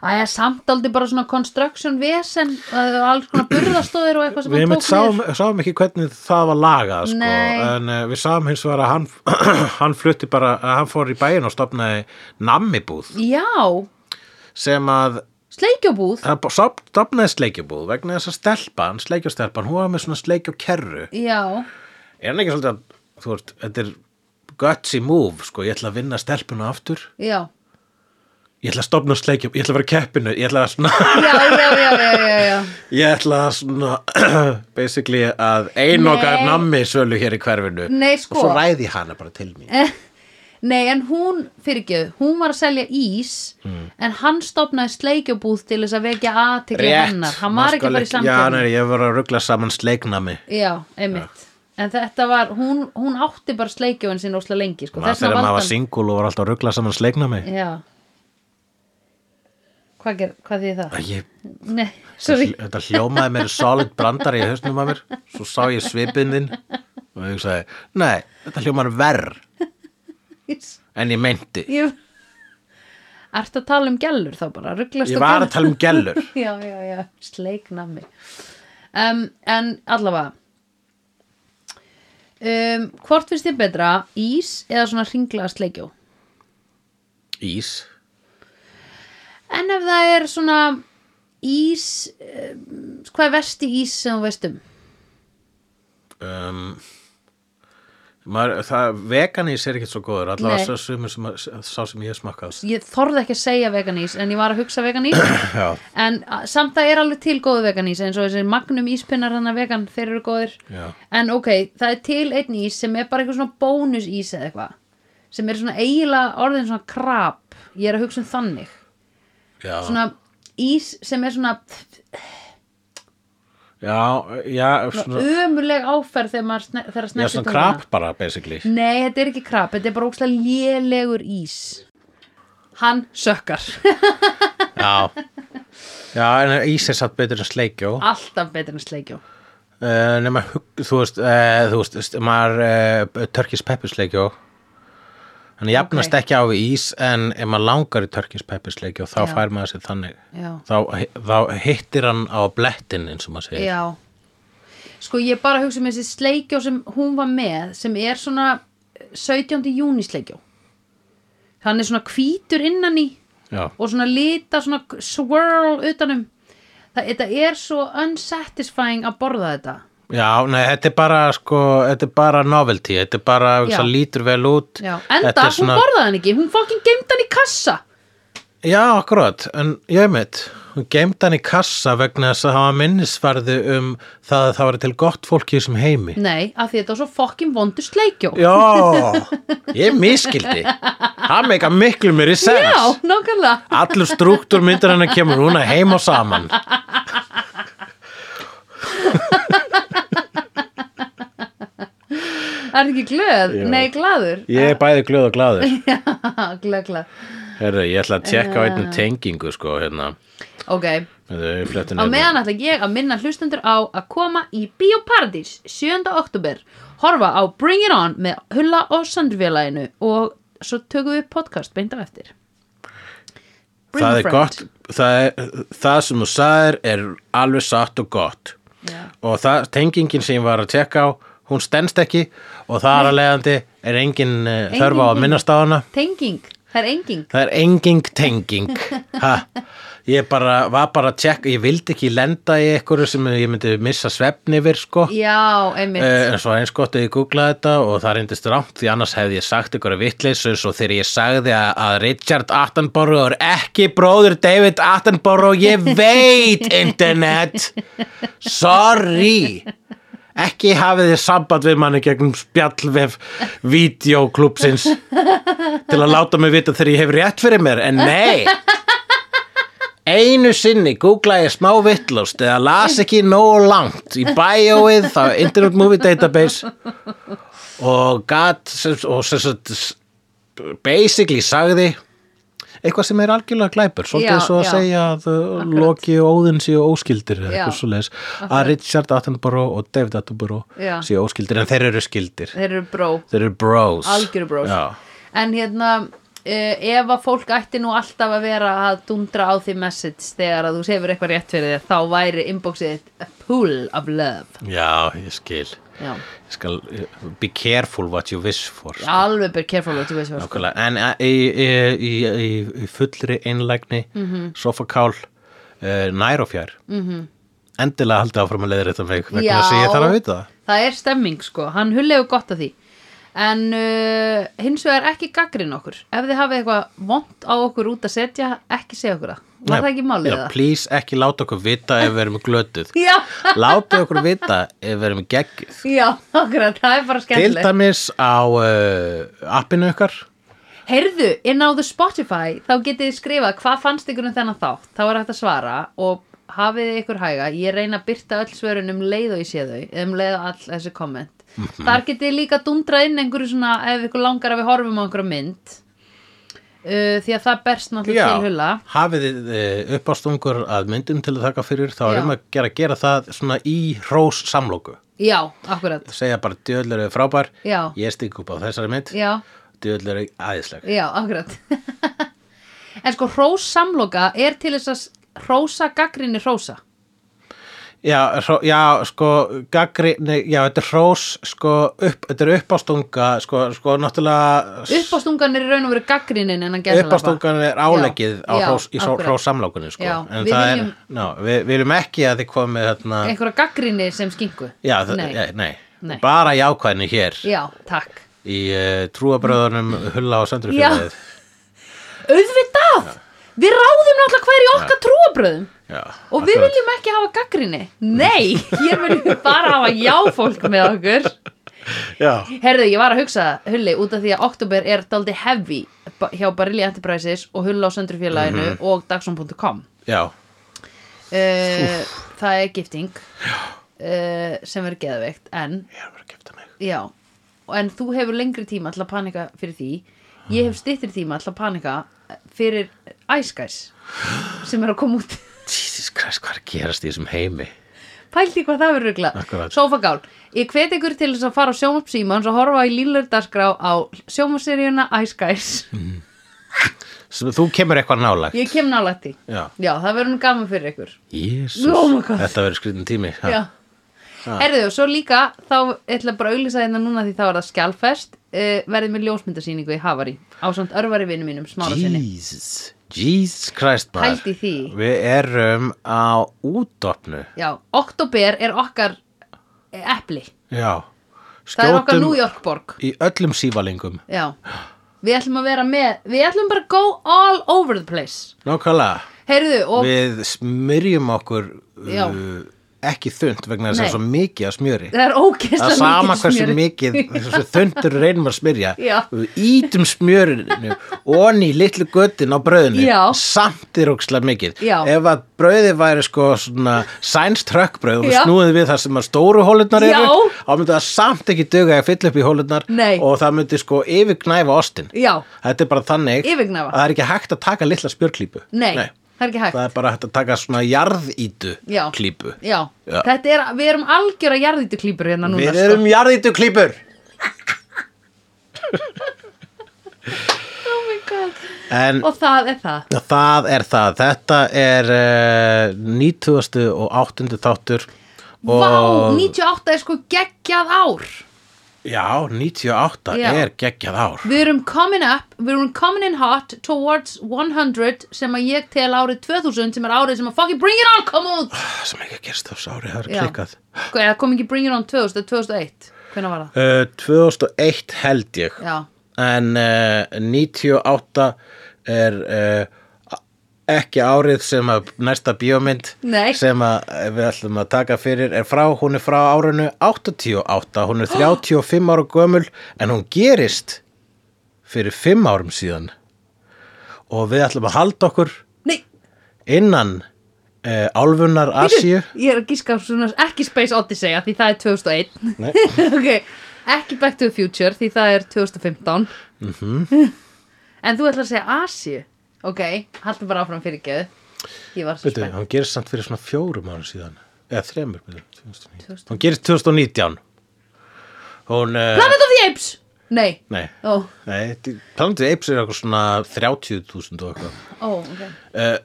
Æja, samt daldi bara svona construction vesen uh, alls konar burðastóðir og eitthvað sem Við hann einmitt tók sáum, sáum ekki hvernig það var lagað sko. Nei. en uh, við sáum hins vegar að hann, hann flutti bara, að hann fór í bæin og stopnaði nammibúð niður Já, sem að sleikjubúð hann stop- stopnaði sleikjubúð vegna þess að stelpan, sleikjustelpan hún var með svona sleikjukerru Já, er hann ekki svolítið að, þú veist, þetta er gutsy move, sko, ég ætla að vinna stelpuna aftur, já ég ætla að stopna sleikjubúð ég ætla að vera keppinu, ég ætla að svona Já, já, já, já, já, já. ég ætla að svona basically að einoka Nei. nammi sölu hér í hverfinu Nei, sko. og svo ræði ég hana bara til mín Nei, en hún, fyrirgjöð, hún var að selja ís Mm. en hann stopnaði sleikjubúð til þess að vekja aðtekli hennar Hann var maður ekki skal bara í Já, samkjöfni nei, ég var að ruggla saman sleiknami Já, einmitt En þetta var, hún, hún átti bara sleikjóin sín óslega lengi, sko maður Þess vegna þegar valdi maður var hann- singul og var alltaf að ruggla saman sleiknami Já Hvað, ger, hvað því það? ég, Nei, sorry þetta hljómaði mér solid brandari í hausnum að mér svo sá ég svipinn þinn og ég sagði, nei, þetta hljómaði verr en ég meinti Ég Ertu að tala um gælur þá bara? Ruglast ég var að tala um gellur Já, já, já, sleiknami um, En allavega um, hvort finnst þér betra ís eða svona ringlaða sleikjó Ís en ef það er svona ís um, hvað er versti ís sem þú veist um um, maður, það, Veganís er ekki svo Nei. góður allavega sá sem, sem, sá sem ég smakkað ég þorði ekki að segja veganís en ég var að hugsa veganís Já, en a- samt það er alveg til góðu veganís eins og þessi magnum íspinnar þannig vegan þeir eru góðir já, En ok, það er til einn ís sem er bara eitthvað svona bónus ís eða eitthvað sem er svona eiginlega orðin svona krab ég er að hugsa um þannig já svona ís sem er svona, Já, já, svona svona, ömuleg áferð þegar maður sne, þegar já, snertir svona tunguna. krab bara, basically Nei, þetta er ekki krab, þetta er bara ókslega lélegur ís Hann sökkar Já Já, en ís er satt betur en sleikjó alltaf betur en sleikjó Uh, nema, hugg- þú veist, uh, þú veist, veist maður uh, Turkish Peppers leikjó hann jafnast Ok. ekki á við ís en ef maður langar í Turkish Peppers leikjó þá Já. fær maður sér þannig Já. þá, þá hittir hann á blettin eins og maður segir Já Sko ég bara hugsa um þessi sleikjó sem hún var með sem er svona 17. júni sleikjó Hann er svona hvítur innan í Já. og svona lita svona swirl utanum Það, þetta er svo unsatisfying að borða þetta Já, nei, þetta er bara sko, þetta er bara novelty, þetta er bara Já. það lítur vel út Já, enda, Þetta er hún borðaði hann ekki, hún fucking geimd hann í kassa Já, akkurat, en ég veit hún geimd hann í kassa vegna þess að hafa minnisvarði um það að það var til gott fólk í þessum heimi Nei, af því þetta var svo fucking vondur sleikjó Já, ég miskildi Það meika miklu mér í sens Já nákvæmlega Allur struktúr myndir hennar kemur núna heim og saman Er það ekki glöð? Já. Nei, glaður Ég er bæði glöð og glaður Glöð, glöð Herru, ég ætla að tjekka á einnig tengingu sko hérna Ok, Á Á hérna. meðan ætla ég að minna hlustendur á að koma í Bíóparadís 7. oktober, horfa á Bring It On með Hulla og Sandrfélaginu og svo tökum við podcast beint á eftir. Bring Það a er friend. gott það, er, það sem þú sagðir er alveg satt og gott Já. Og það, tengingin sem ég var að tjekka á Hún stendst ekki Og það er að leiðandi er engin, engin þörf á tenging. að minnast á hana Tenging, það er enging. Það er enging tenging ha. Ég bara, var bara að tjekka Ég vildi ekki lenda í einhverju sem ég myndi missa svefn yfir sko Já, einmitt. Eh, En svo eins gott að ég googlaði þetta og það reyndist rámt því annars hefði ég sagt ykkur vittleysu svo þegar ég sagði að, að Richard Attenborough er ekki bróður David Attenborough ég veit internet sorry ekki hafið þið samband við manni gegnum spjallvef videoklúpsins til að láta mig vita þegar ég hef rétt fyrir mér en nei Einu sinni googlaði ég smá vittlust eða las ekki nógu langt í bioið, það var Internet Movie Database og gat sem- og sem sagt s- basically sagði eitthvað sem er algjörlega glæpur svolítið Já, já, svo að já. segja að uh, Loki og Óðinn séu óskildir eða Já, eitthvað svo að Richard Attenborough og David Attenborough Já. séu óskildir en þeir eru skildir, Þeir eru bró, þeir eru bros algjöru brós. Já. En hérna, uh, ef að fólk ætti nú alltaf að vera að dundra á því message þegar að þú sefur eitthvað rétt fyrir þér, þá væri inboxið þitt a pool of love. já, ég skil Já, ég skal, eh, be careful what you wish for sko. alveg ber careful what you wish for. Nákvæmlega, en eh, í, í, í, í fullri einlægni, Mhm. sofakál, uh, nær og fjær. -hmm. Endilega haldið áfram að leiðir þetta mig, vegna Já. þess að ég þarf að vita það. það er stemming sko, hann hulli hefur gott af því en uh, hins vegar ekki gaggrinn okkur, ef þið hafið eitthvað vond á okkur út að setja, ekki segja okkur það var það ekki málið Já, það? please ekki láta okkur vita ef við erum glötuð. Já, láta okkur vita ef við erum geggjuð. já, okkur, það er bara Til skemmtilegt dæmis á uh, appinu ykkar. Heyrðu, inn á The Spotify þá getið þið skrifað hvað fannst ykkur um þennan þátt þá er hægt að svara og hafið þið ykkur hæga, ég reyna að byrta öll svörun um leið og ég sé þau, um leið og all þessi komment. Þar getið þið líka dundrað inn einhverju svona, ef ykkur langar að við horfum á einhverju mynd uh, því að það berst náttúrulega til hulla hafið þið eh, uppástungur að myndum til að taka fyrir, þá Já. erum að gera, gera það svona í hrós samlóku. Já, akkurat, Segja bara djöðlur er frábær, Já. ég stík upp á þessari mynd. já, Djöðl er aðeinsleg. já, akkurat En sko, hrós samloka er til þess að hrósa gaggrinni hrósa Já, hró, já sko, gagri, nei, já, þetta er hrós, sko, upp, þetta er uppástunga, sko, sko, náttúrulega, uppástungan er í raun og veru gaggrinin en hann gerði uppástungan er áleggið Já, á já, hrós, í svo- akkurat. hróssamlokunni, sko, Já, en við það viljum- er, ná, við við viljum ekki að þið komið, hérna, einhverja gaggrinni sem skingu já, það, Nei. nei. Nei, Nei. bara jákvæðinu hér já, takk í uh, trúabröðunum Hulla og Já. Söndrufjörðið, auðvitað, við ráðum náttúrulega hverju okkar trúabröðum já, og við akkurat. viljum ekki hafa gaggrinni nei, hér viljum við bara hafa jáfólk með okkur já, Herðu, ég var að hugsa það, Hulli, út af því að oktober er daldi heavy ba- hjá Barilli Enterprises og Hulla á Söndrufélaginu Mhm. og Dagsson.com já, uh, Það er gifting uh, sem verður geðveikt en, ég er bara að kæfta mig, já, en þú hefur lengri tíma til að panika fyrir því Ég hef styttri tíma til að panika eh, fyrir Ice Guys sem er að koma út Jesus Christ, hvað er að gerast í þessum heimi, Pælti hvað það verður rugla Akkurat. Sofagál Ég hvet ykkur til þess að fara á sjónvarp símans og horfa í lílördarskrá á sjónvarpseríuna Ice Guys Sem- þú kemur eitthvað nálægt, Ég kem nálægt því já, Já, það verður nú gaman fyrir ykkur Jésus, Oh my God. þetta verður skritin tími, ha. Já Herðu, og svo líka, þá ætla bara að auglýsa hérna núna því þá er það skjálfest uh, verðið með ljósmyndasýningu í Havari ásamt örvari vinnu mínum, smára sinni Jesus, Jesus Christ maður Pældi því. Við erum á útdopnu Já, oktober er okkar eh, epli, Já það er okkar New York borg í öllum sívalingum Já, við ætlum að vera með við ætlum bara að go all over the place Nákvæmlega, Heyrðu, og við smyrjum okkur Já. uh, ekki þund vegna þess að Nei. svo mikið að smjöri það er Það er ógeðslega sama mikið hversu smjöri. mikið þessu þundur við reynum að smyrja um Já. Við ítum smjörinu onni í litlu göttin á brauðinu Já. samt er ókslega mikið Já. Ef að brauði væri sko svona sænst hökkbrauð og Já. snúið við það sem að stóru hólurnar Já. eru þá myndi það samt ekki duga að fylla upp í hólurnar Nei. og það myndi sko yfirgnæfa ostin Já, Þetta er bara þannig Yfirgnæfa. að það er ekki hægt að taka litla spjörklípu nei, það er ekki hægt Það er bara hægt að taka svona jarðítu Já. klípu Já, Já. þetta er, við erum algjör að jarðítu klípur hérna núna Við sko. erum jarðítu klípur Oh my god En Og það er það Já, Það er það, þetta er uh, 90. og 8. þáttur og Vá, 98 er sko geggjað ár Já, 98 Já. er geggjað ár Við erum coming up, við erum coming in hot towards 100 sem að ég tel árið 2000 sem er árið sem að fucking bring it on kom út Það sem ekki að gerst þessu ári, það er Já. klikkað Hvað, Sko, eða kom ekki bring it on 2000 eða 2001 Hvenær var það? uh, 2001 held ég Já, en uh, 98 er uh, ekki árið sem að næsta bíómynd Nei. sem að eh, við ætlum að taka fyrir er frá, hún er frá árinu 88, hún er 35 ára gömul en hún gerist fyrir 5 árum síðan og við ætlum að halda okkur nei innan uh, álfunar Asíu bíddu, Ég er að gíska á svona ekki Space Odyssey af því það er 2001 Nei. Ok, ekki Back to the Future því það er 2015 En þú ætlar að segja Asi Ok, haldum bara áfram fyrir geðu Ég var svo Bíddu, spennt hún gerist samt fyrir svona fjórum árum síðan eða þremur bíddu, 2019. hún gerist 2019 hún uh, Planet of the Apes Nei, nei ó, Nei, þetta- Planet of the Apes er eitthvað svona 30.000 og eitthvað. ó, ok Uh,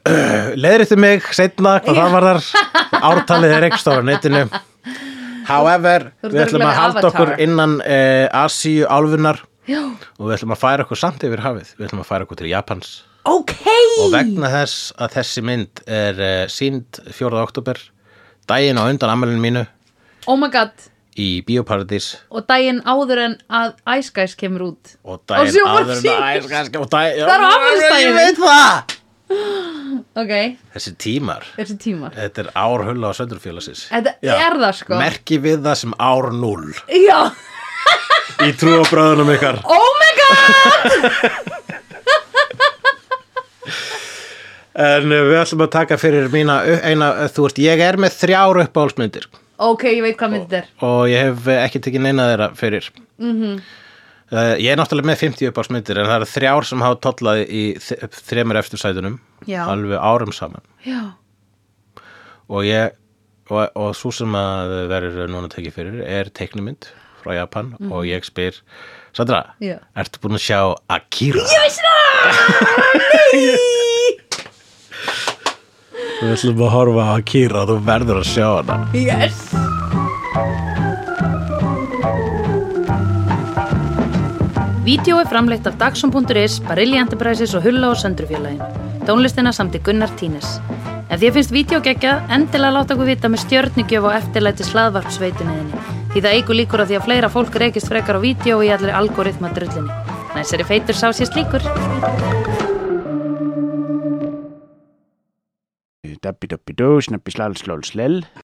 Leðrið mig setna hvað það var þar. Ártalið er ekstra á netinu. However, Þú ert við ætlum örugglega að halda avatar. okkur innan uh, Asíu álfunar Já, og við ætlum að færa okkur samt yfir hafið. Við ætlum að færa okkur til Japans. ok Og vegna þess að þessi mynd er uh, sínd 4. oktober, daginn á undan ammælinu mínu Oh my god, í Bíóparadís og daginn áður en að Ice Guys kemur út og Á daginn áður sjónvarpsins. en að æs, kannski, og daginn... Það er á afmælisdaginn. Ég veit það! Ok, Þessi tímar. þessi tímar Þetta er ár hulla á söndurfélagsins Þetta Já. er það sko Merki við það sem ár 0 Já, Í trúabröðunum ykkar oh my god En uh, við ætlum að taka fyrir mína uh, eina, uh, þú veist, ég er með þrjár uppáhaldsmyndir Ok, ég veit hvað mynd þetta er og ég hef uh, ekki tekið neina þeirra fyrir mm Mhm. Ég er náttúrulega með 50 uppáhaldsmyndir en það eru þrjár sem hafa tollað í þ- þremur eftirsætunum Já. alveg árum saman Já, og ég og, og svo sem að verður núna tekið fyrir er teiknumynd frá Japan og ég spyr Sandra, Mhm. Já. ertu búin að sjá Akira? ég veist það Nei Við ætlum að horfa á Akira, þú verður að sjá hana Yes Vídeó er framleitt af Dagsum.is, Barilli Enterprises og Hulla og Söndrufjörlægin. Tónlistina samt í Gunnar Tínes. Ef því að finnst vídeo geggja, endilega láta okkur vita með stjörnigjöf og eftirlæti slaðvarpsveitunniðinni. Því það eigur líkur að því að fleira fólk reykist frekar á vídeo og í allir algoritma drullinni. Næsari feitur sá sér slíkur. Dabbi dabbi dó, snabbi slal slal slel